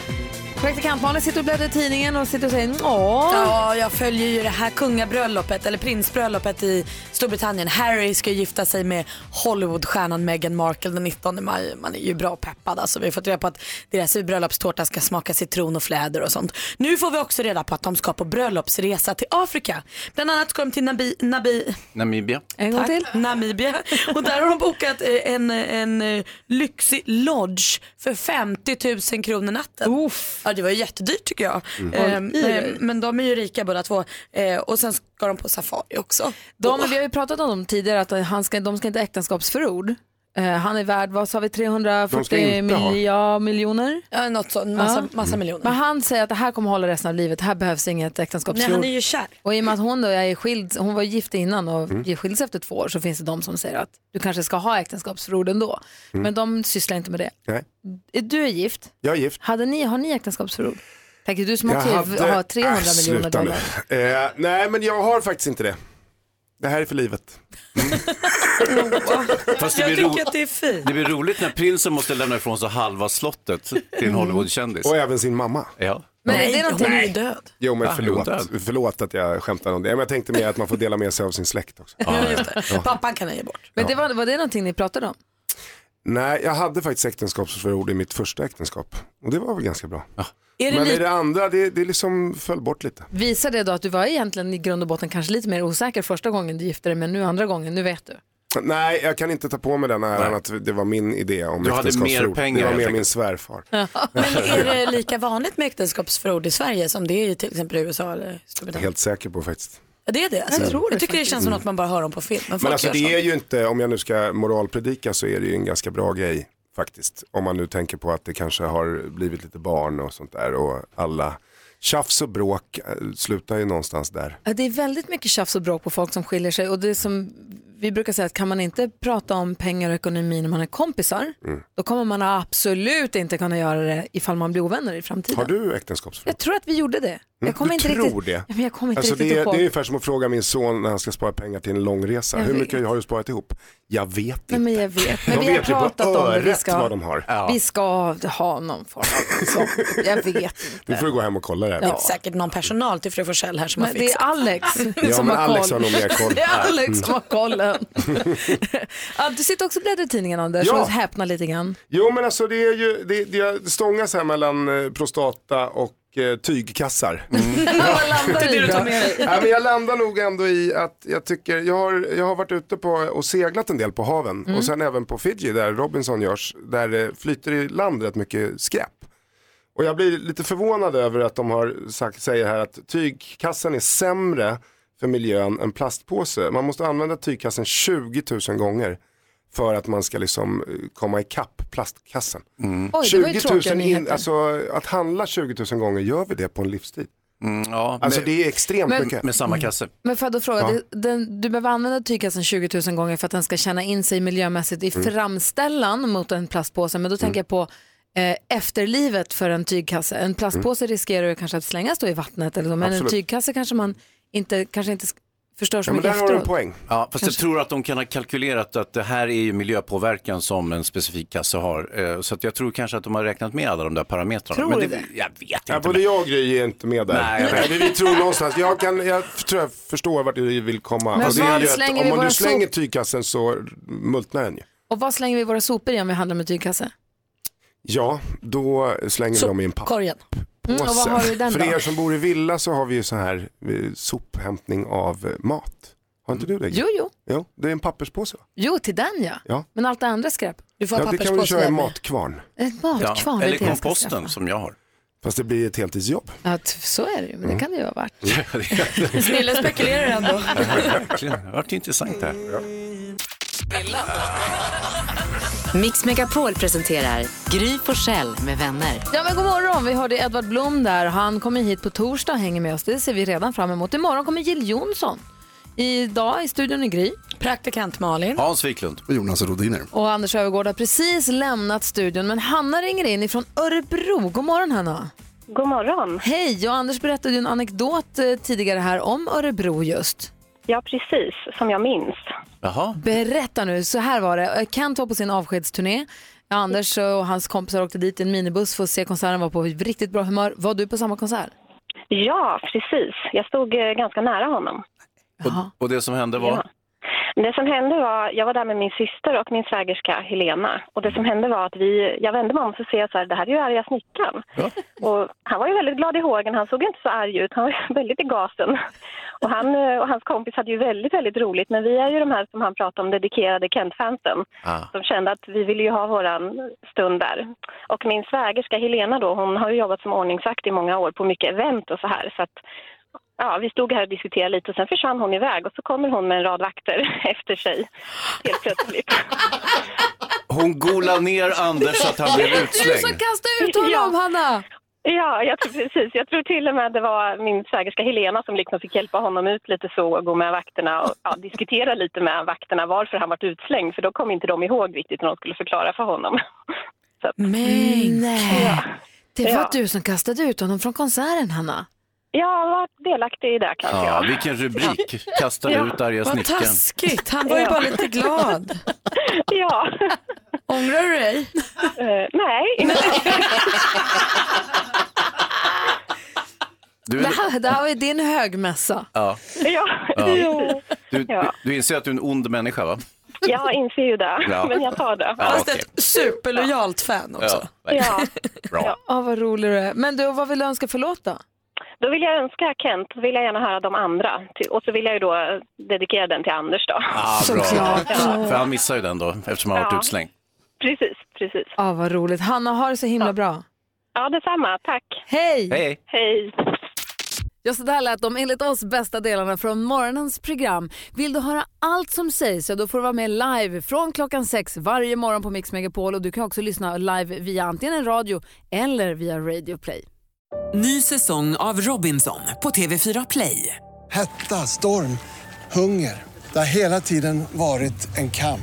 Speaker 5: praktikant Malin sitter och bläddrar i tidningen och sitter och säger åh.
Speaker 7: Ja, jag följer ju det här kungabröllopet, eller prinsbröllopet i Storbritannien. Harry ska gifta sig med Hollywoodstjärnan Meghan Markle den 19 maj. Man är ju bra peppad alltså. Vi har fått reda på att deras bröllopstårta ska smaka citron och fläder och sånt. Nu får vi också reda på att de ska på bröllopsresa till Afrika. Bland annat ska de till Nabi... Nabi
Speaker 10: Namibia.
Speaker 5: En gång till.
Speaker 7: Namibia. Och där har de bokat eh, en, en eh, lyxig lodge för 50 000 kronor natten. Ja, det var ju jättedyrt tycker jag.
Speaker 5: Mm.
Speaker 7: Ehm,
Speaker 5: Oj, oj, oj.
Speaker 7: ehm, men de är ju rika båda två. Ehm, och sen ska de på safari också.
Speaker 5: De, vi har ju pratat om dem tidigare, att han ska, de ska inte ha äktenskapsförord. Eh, han är värd, vad sa vi,
Speaker 7: De ska inte
Speaker 5: 340
Speaker 7: ha.
Speaker 5: milja, miljoner?
Speaker 7: Ja, något sånt, massa, massa miljoner.
Speaker 5: Men han säger att det här kommer hålla resten av livet, här behövs inget äktenskapsförord.
Speaker 7: Nej, han är ju kär.
Speaker 5: Och i och med att hon då är skild, hon var gift innan och
Speaker 7: Mm.
Speaker 5: mm. skildes efter två år så finns det de som säger att du kanske ska ha äktenskapsförord ändå.
Speaker 6: Mm.
Speaker 5: Men de sysslar inte med det.
Speaker 6: Nej,
Speaker 5: Är Du är gift.
Speaker 6: jag är gift.
Speaker 5: Hade ni, har ni äktenskapsförord? Tänker du som
Speaker 6: Jag
Speaker 5: också
Speaker 6: hade-
Speaker 5: har
Speaker 6: Äh,
Speaker 5: 300 miljoner
Speaker 6: sluta nu.
Speaker 5: dollar.
Speaker 6: Eh, nej, men jag har faktiskt inte det. Det här är för livet.
Speaker 10: Fast
Speaker 7: Jag
Speaker 10: blir ro-
Speaker 7: tycker att det är fint.
Speaker 10: det blir roligt när prinsen måste lämna ifrån sig halva slottet
Speaker 6: Mm.
Speaker 10: till en Hollywoodkändis.
Speaker 6: Och även sin mamma.
Speaker 10: Ja.
Speaker 5: Men
Speaker 7: Nej,
Speaker 5: är det någonting...
Speaker 7: hon är ju död.
Speaker 6: Jo, men
Speaker 10: Ah,
Speaker 6: förlåt.
Speaker 10: är hon död?
Speaker 6: Förlåt att jag skämtar om det. Men jag tänkte mer att man får dela med sig av sin släkt också. Ja.
Speaker 7: Pappan kan han ge bort.
Speaker 5: Men det var, var det någonting ni pratade om?
Speaker 6: Nej, jag hade faktiskt äktenskapsförord i mitt första äktenskap. Och det var väl ganska bra.
Speaker 5: Är det
Speaker 6: men i
Speaker 5: lite-
Speaker 6: det andra, det, det liksom föll bort lite.
Speaker 5: Visar det då att du var egentligen i grund och botten kanske lite mer osäker första gången du gifte dig men nu andra gången, nu vet du.
Speaker 6: Nej, jag kan inte ta på mig den äran att det var min idé om
Speaker 10: Du hade mer
Speaker 6: äktenskapsförord.
Speaker 10: pengar,
Speaker 6: Det var
Speaker 10: helt
Speaker 6: mer
Speaker 10: enkelt.
Speaker 6: min svärfar.
Speaker 7: Men är det lika vanligt med äktenskapsförord i Sverige som det är i till exempel i USA eller Storbritannien?
Speaker 6: Helt säker på faktiskt.
Speaker 7: Ja, det är det. Alltså. Jag,
Speaker 6: tror det
Speaker 7: tycker det känns som något man bara hör om på film. Men,
Speaker 6: Men
Speaker 7: folk
Speaker 6: alltså
Speaker 7: gör
Speaker 6: det
Speaker 7: sånt.
Speaker 6: är ju inte, om jag nu ska moralpredika så är det ju en ganska bra grej faktiskt. Om man nu tänker på att det kanske har blivit lite barn och sånt där och alla tjafs och bråk eh, slutar ju någonstans där.
Speaker 5: Ja, Det är väldigt mycket tjafs och bråk på folk som skiljer sig och det är som vi brukar säga att kan man inte prata om pengar och ekonomi när man är kompisar
Speaker 6: Mm.
Speaker 5: då kommer man absolut inte kunna göra det ifall man blir ovänner i framtiden.
Speaker 6: Har du äktenskapsfrågor?
Speaker 5: Jag tror att vi gjorde det. Jag kommer
Speaker 6: du
Speaker 5: inte
Speaker 6: tror
Speaker 5: riktigt...
Speaker 6: det?
Speaker 5: Ja, men jag kommer inte
Speaker 6: Alltså
Speaker 5: riktigt
Speaker 6: det, är, det
Speaker 5: ihåg.
Speaker 6: är ungefär som att fråga min son när han ska spara pengar till en långresa.
Speaker 5: Jag
Speaker 6: Hur
Speaker 5: vet.
Speaker 6: mycket har du sparat ihop? Jag vet
Speaker 5: Nej, men jag vet. Men
Speaker 6: De
Speaker 5: vi har
Speaker 6: vet ju på
Speaker 5: pratat om det. Vi
Speaker 6: öret
Speaker 5: ska,
Speaker 6: vad de har. Ja.
Speaker 5: vi ska ha någon form av sånt. Jag vet.
Speaker 6: Du får gå hem och kolla det här.
Speaker 7: Det är säkert någon personal till Fru Forsell här som
Speaker 5: Men
Speaker 7: har
Speaker 5: det
Speaker 7: fixat.
Speaker 5: är Alex
Speaker 6: Ja,
Speaker 5: som
Speaker 6: men
Speaker 5: har
Speaker 6: Alex
Speaker 5: koll.
Speaker 6: har nog mer koll.
Speaker 5: det är Alex
Speaker 6: Mm.
Speaker 5: som har kollen. ja, du sitter också och bläddrar i tidningen Anders
Speaker 6: Ja.
Speaker 5: och häpnar lite grann.
Speaker 6: Jo men alltså det är ju, det, det stångas här mellan eh, prostata och eh, tygkassar.
Speaker 5: Vad landar
Speaker 6: Det är
Speaker 5: du
Speaker 6: det
Speaker 5: i
Speaker 6: du
Speaker 5: då?
Speaker 6: tar med dig. Ja, men jag landar nog ändå i att jag tycker, jag har, jag har varit ute på och seglat en del på haven
Speaker 23: Mm.
Speaker 6: och sen även på Fiji där Robinson görs, där det flyter i land rätt mycket skräp. Och jag blir lite förvånad över att de har sagt, säger här att tygkassen är sämre för miljön än plastpåse. Man måste använda tygkassen 20 000 gånger för att man ska liksom eh, komma ikapp plastkassen.
Speaker 5: Oj, det var ju tråkiga
Speaker 6: in,
Speaker 5: nyheter.
Speaker 6: alltså att handla 20 000 gånger, gör vi det på en livstid?
Speaker 10: ja,
Speaker 6: alltså
Speaker 10: med-
Speaker 6: det är extremt
Speaker 5: Men-
Speaker 6: mycket.
Speaker 10: Mm.
Speaker 6: Mm.
Speaker 10: Med samma kasse.
Speaker 5: Men får jag då fråga,
Speaker 6: Ja.
Speaker 5: det- den, du behöver använda tygkassen 20 000 gånger för att den ska känna in sig miljömässigt i
Speaker 6: Mm.
Speaker 5: framställan mot en plastpåse. Men då tänker jag på eh, efterlivet för en tygkasse. En plastpåse
Speaker 6: Mm.
Speaker 5: riskerar ju kanske att slängas då i vattnet eller så, men en
Speaker 10: Absolut.
Speaker 5: tygkasse kanske man inte, kanske inte sk- förstör så mycket efteråt.
Speaker 10: Ja, fast jag
Speaker 5: Kanske.
Speaker 10: tror att de kan ha kalkylerat att det här är ju miljöpåverkan som en specifik kasse har. Eh, Så att jag tror kanske att de har räknat med alla de där parametrarna.
Speaker 6: Tror
Speaker 10: Men
Speaker 6: du
Speaker 10: det?
Speaker 6: det?
Speaker 10: Jag vet inte.
Speaker 6: Ja, både
Speaker 10: men-
Speaker 6: jag och Gry är inte med där.
Speaker 10: Nej, jag vet.
Speaker 6: vi, vi tror någonstans, jag, kan, jag tror jag förstår vart du vill komma.
Speaker 5: Men
Speaker 6: Och det är
Speaker 5: var
Speaker 6: ju att
Speaker 5: slänger
Speaker 6: om
Speaker 5: vi
Speaker 6: man
Speaker 5: våra
Speaker 6: du slänger tygkassen så multnar den ju.
Speaker 5: Och vad slänger vi våra sopor i om vi handlar med tygkasse?
Speaker 6: Ja, då slänger vi dem i en papppåse.
Speaker 7: Korgen.
Speaker 5: Mm, och vad har du i den
Speaker 6: För
Speaker 5: då?
Speaker 6: er som bor i villa så har vi ju så här eh, sophämtning av eh, mat. Har inte du det?
Speaker 5: Jo, jo.
Speaker 6: Jo, det är en papperspåse va?
Speaker 5: Jo, till den ja.
Speaker 6: Ja.
Speaker 5: Men allt det andra skräp. Du
Speaker 6: ja, det kan man ju köra i matkvarn.
Speaker 5: En matkvarn. det är
Speaker 10: Eller
Speaker 5: det jag ska skaffa.
Speaker 10: komposten som jag har.
Speaker 6: Fast det blir ett heltidsjobb.
Speaker 5: Ja, t- så är det ju. Men det
Speaker 10: Mm.
Speaker 5: kan det ju vara värt.
Speaker 24: Snille spekulerar ändå.
Speaker 10: Verkligen, det har varit intressant det här.
Speaker 25: Mix Megapol presenterar Gry Forssell med vänner.
Speaker 5: Ja, men god morgon. Vi hörde Edvard Blom där. Han kommer hit på torsdag och hänger med oss. Det ser vi redan fram emot. Imorgon kommer Jill Johnson. Idag i studion i Gry.
Speaker 24: Praktikant Malin.
Speaker 10: Hans Wiklund.
Speaker 13: Och Jonas Rodiner.
Speaker 5: Och Anders Öfvergård har precis lämnat studion, men Hanna ringer in ifrån Örebro. God morgon Hanna!
Speaker 15: God morgon!
Speaker 5: Hej! Jag och Anders berättade ju en anekdot eh, tidigare här om Örebro just.
Speaker 15: Ja, precis. Som jag minns.
Speaker 10: Jaha.
Speaker 5: Berätta nu, så här var det. Eh, Kent var på sin avskedsturné. Eh, Anders och hans kompisar åkte dit i en minibuss för att se konserten, var på riktigt bra humör. Var du på samma konsert?
Speaker 15: Ja, precis. Jag stod eh, ganska nära honom.
Speaker 10: Och, och det som hände var?
Speaker 15: Det som hände var, jag var där med min syster och min svägerska Helena. Och det som hände var att vi, jag vände mig om och så ser jag så här, det här är ju arga snickaren. Och han var ju väldigt glad i hågen, han såg ju inte så arg ut, han var ju väldigt i gasen. Och han eh, och hans kompis hade ju väldigt, väldigt roligt. Men vi är ju de här som han pratade om, dedikerade Kent-fansen.
Speaker 10: Ah.
Speaker 15: De kände att vi ville ju ha våran stund där. Och min svägerska Helena då, hon har ju jobbat som ordningsvakt i många år på mycket event och så här. Så att Ja, vi stod här och diskuterade lite och sen försvann hon iväg och så kommer hon med en rad vakter efter sig. Helt plötsligt.
Speaker 10: Hon golade ner Anders så att han blev utslängd.
Speaker 5: kastade ut honom, ja. Hanna!
Speaker 15: Ja, jag tror, precis. Jag tror till och med det var min svägerska Helena som liksom fick hjälpa honom ut lite så och gå med vakterna och ja, diskutera lite med vakterna varför han vart utslängd för då kom inte de ihåg riktigt när de skulle förklara för honom.
Speaker 5: Men Mm, nej! Det var
Speaker 15: Ja.
Speaker 5: du som kastade ut honom från konserten, Hanna.
Speaker 15: Ja, jag var delaktig i det kanske
Speaker 10: Ja,
Speaker 15: jag.
Speaker 10: vilken rubrik. Kastade
Speaker 15: Ja.
Speaker 10: ut arga
Speaker 15: Vad
Speaker 10: snickaren.
Speaker 24: Taskigt, han var ju
Speaker 15: Ja.
Speaker 24: bara lite glad.
Speaker 15: Ja.
Speaker 24: Ångrar du dig?
Speaker 15: Eh, nej.
Speaker 10: Du,
Speaker 5: Det här, det här var ju din högmässa.
Speaker 10: ja.
Speaker 15: Ja.
Speaker 10: Ja. Du, du,
Speaker 15: Ja.
Speaker 10: du inser att du är en ond människa va?
Speaker 15: Jag inser ju det,
Speaker 10: Ja.
Speaker 15: men jag tar det.
Speaker 10: Ja, Fast okej.
Speaker 24: superlojalt fan
Speaker 10: också.
Speaker 15: Ja.
Speaker 10: Bra.
Speaker 5: Ja, vad rolig du är. Men du, vad vill du önska för låt då?
Speaker 15: Då vill jag önska Kent, då vill jag gärna höra de andra. Ty- Och så vill jag ju då dedikera den till Anders då.
Speaker 10: Ah, bra.
Speaker 5: Såklart.
Speaker 10: För han missar ju den då eftersom han har
Speaker 15: Ja.
Speaker 10: varit utslängd.
Speaker 15: Precis, precis.
Speaker 5: Ja, vad roligt. Hanna, har det så himla bra.
Speaker 15: Ja, detsamma. Tack.
Speaker 5: Hej!
Speaker 10: Hej!
Speaker 15: Hej!
Speaker 26: Ja, så där lät de enligt oss bästa delarna från morgonens program. Vill du höra allt som sägs så då får du vara med live från klockan sex varje morgon på Mix Megapol och du kan också lyssna live via antingen en radio eller via Radio Play.
Speaker 8: Ny säsong av Robinson på TV4 Play.
Speaker 27: Hetta, storm, hunger. Det har hela tiden varit en kamp.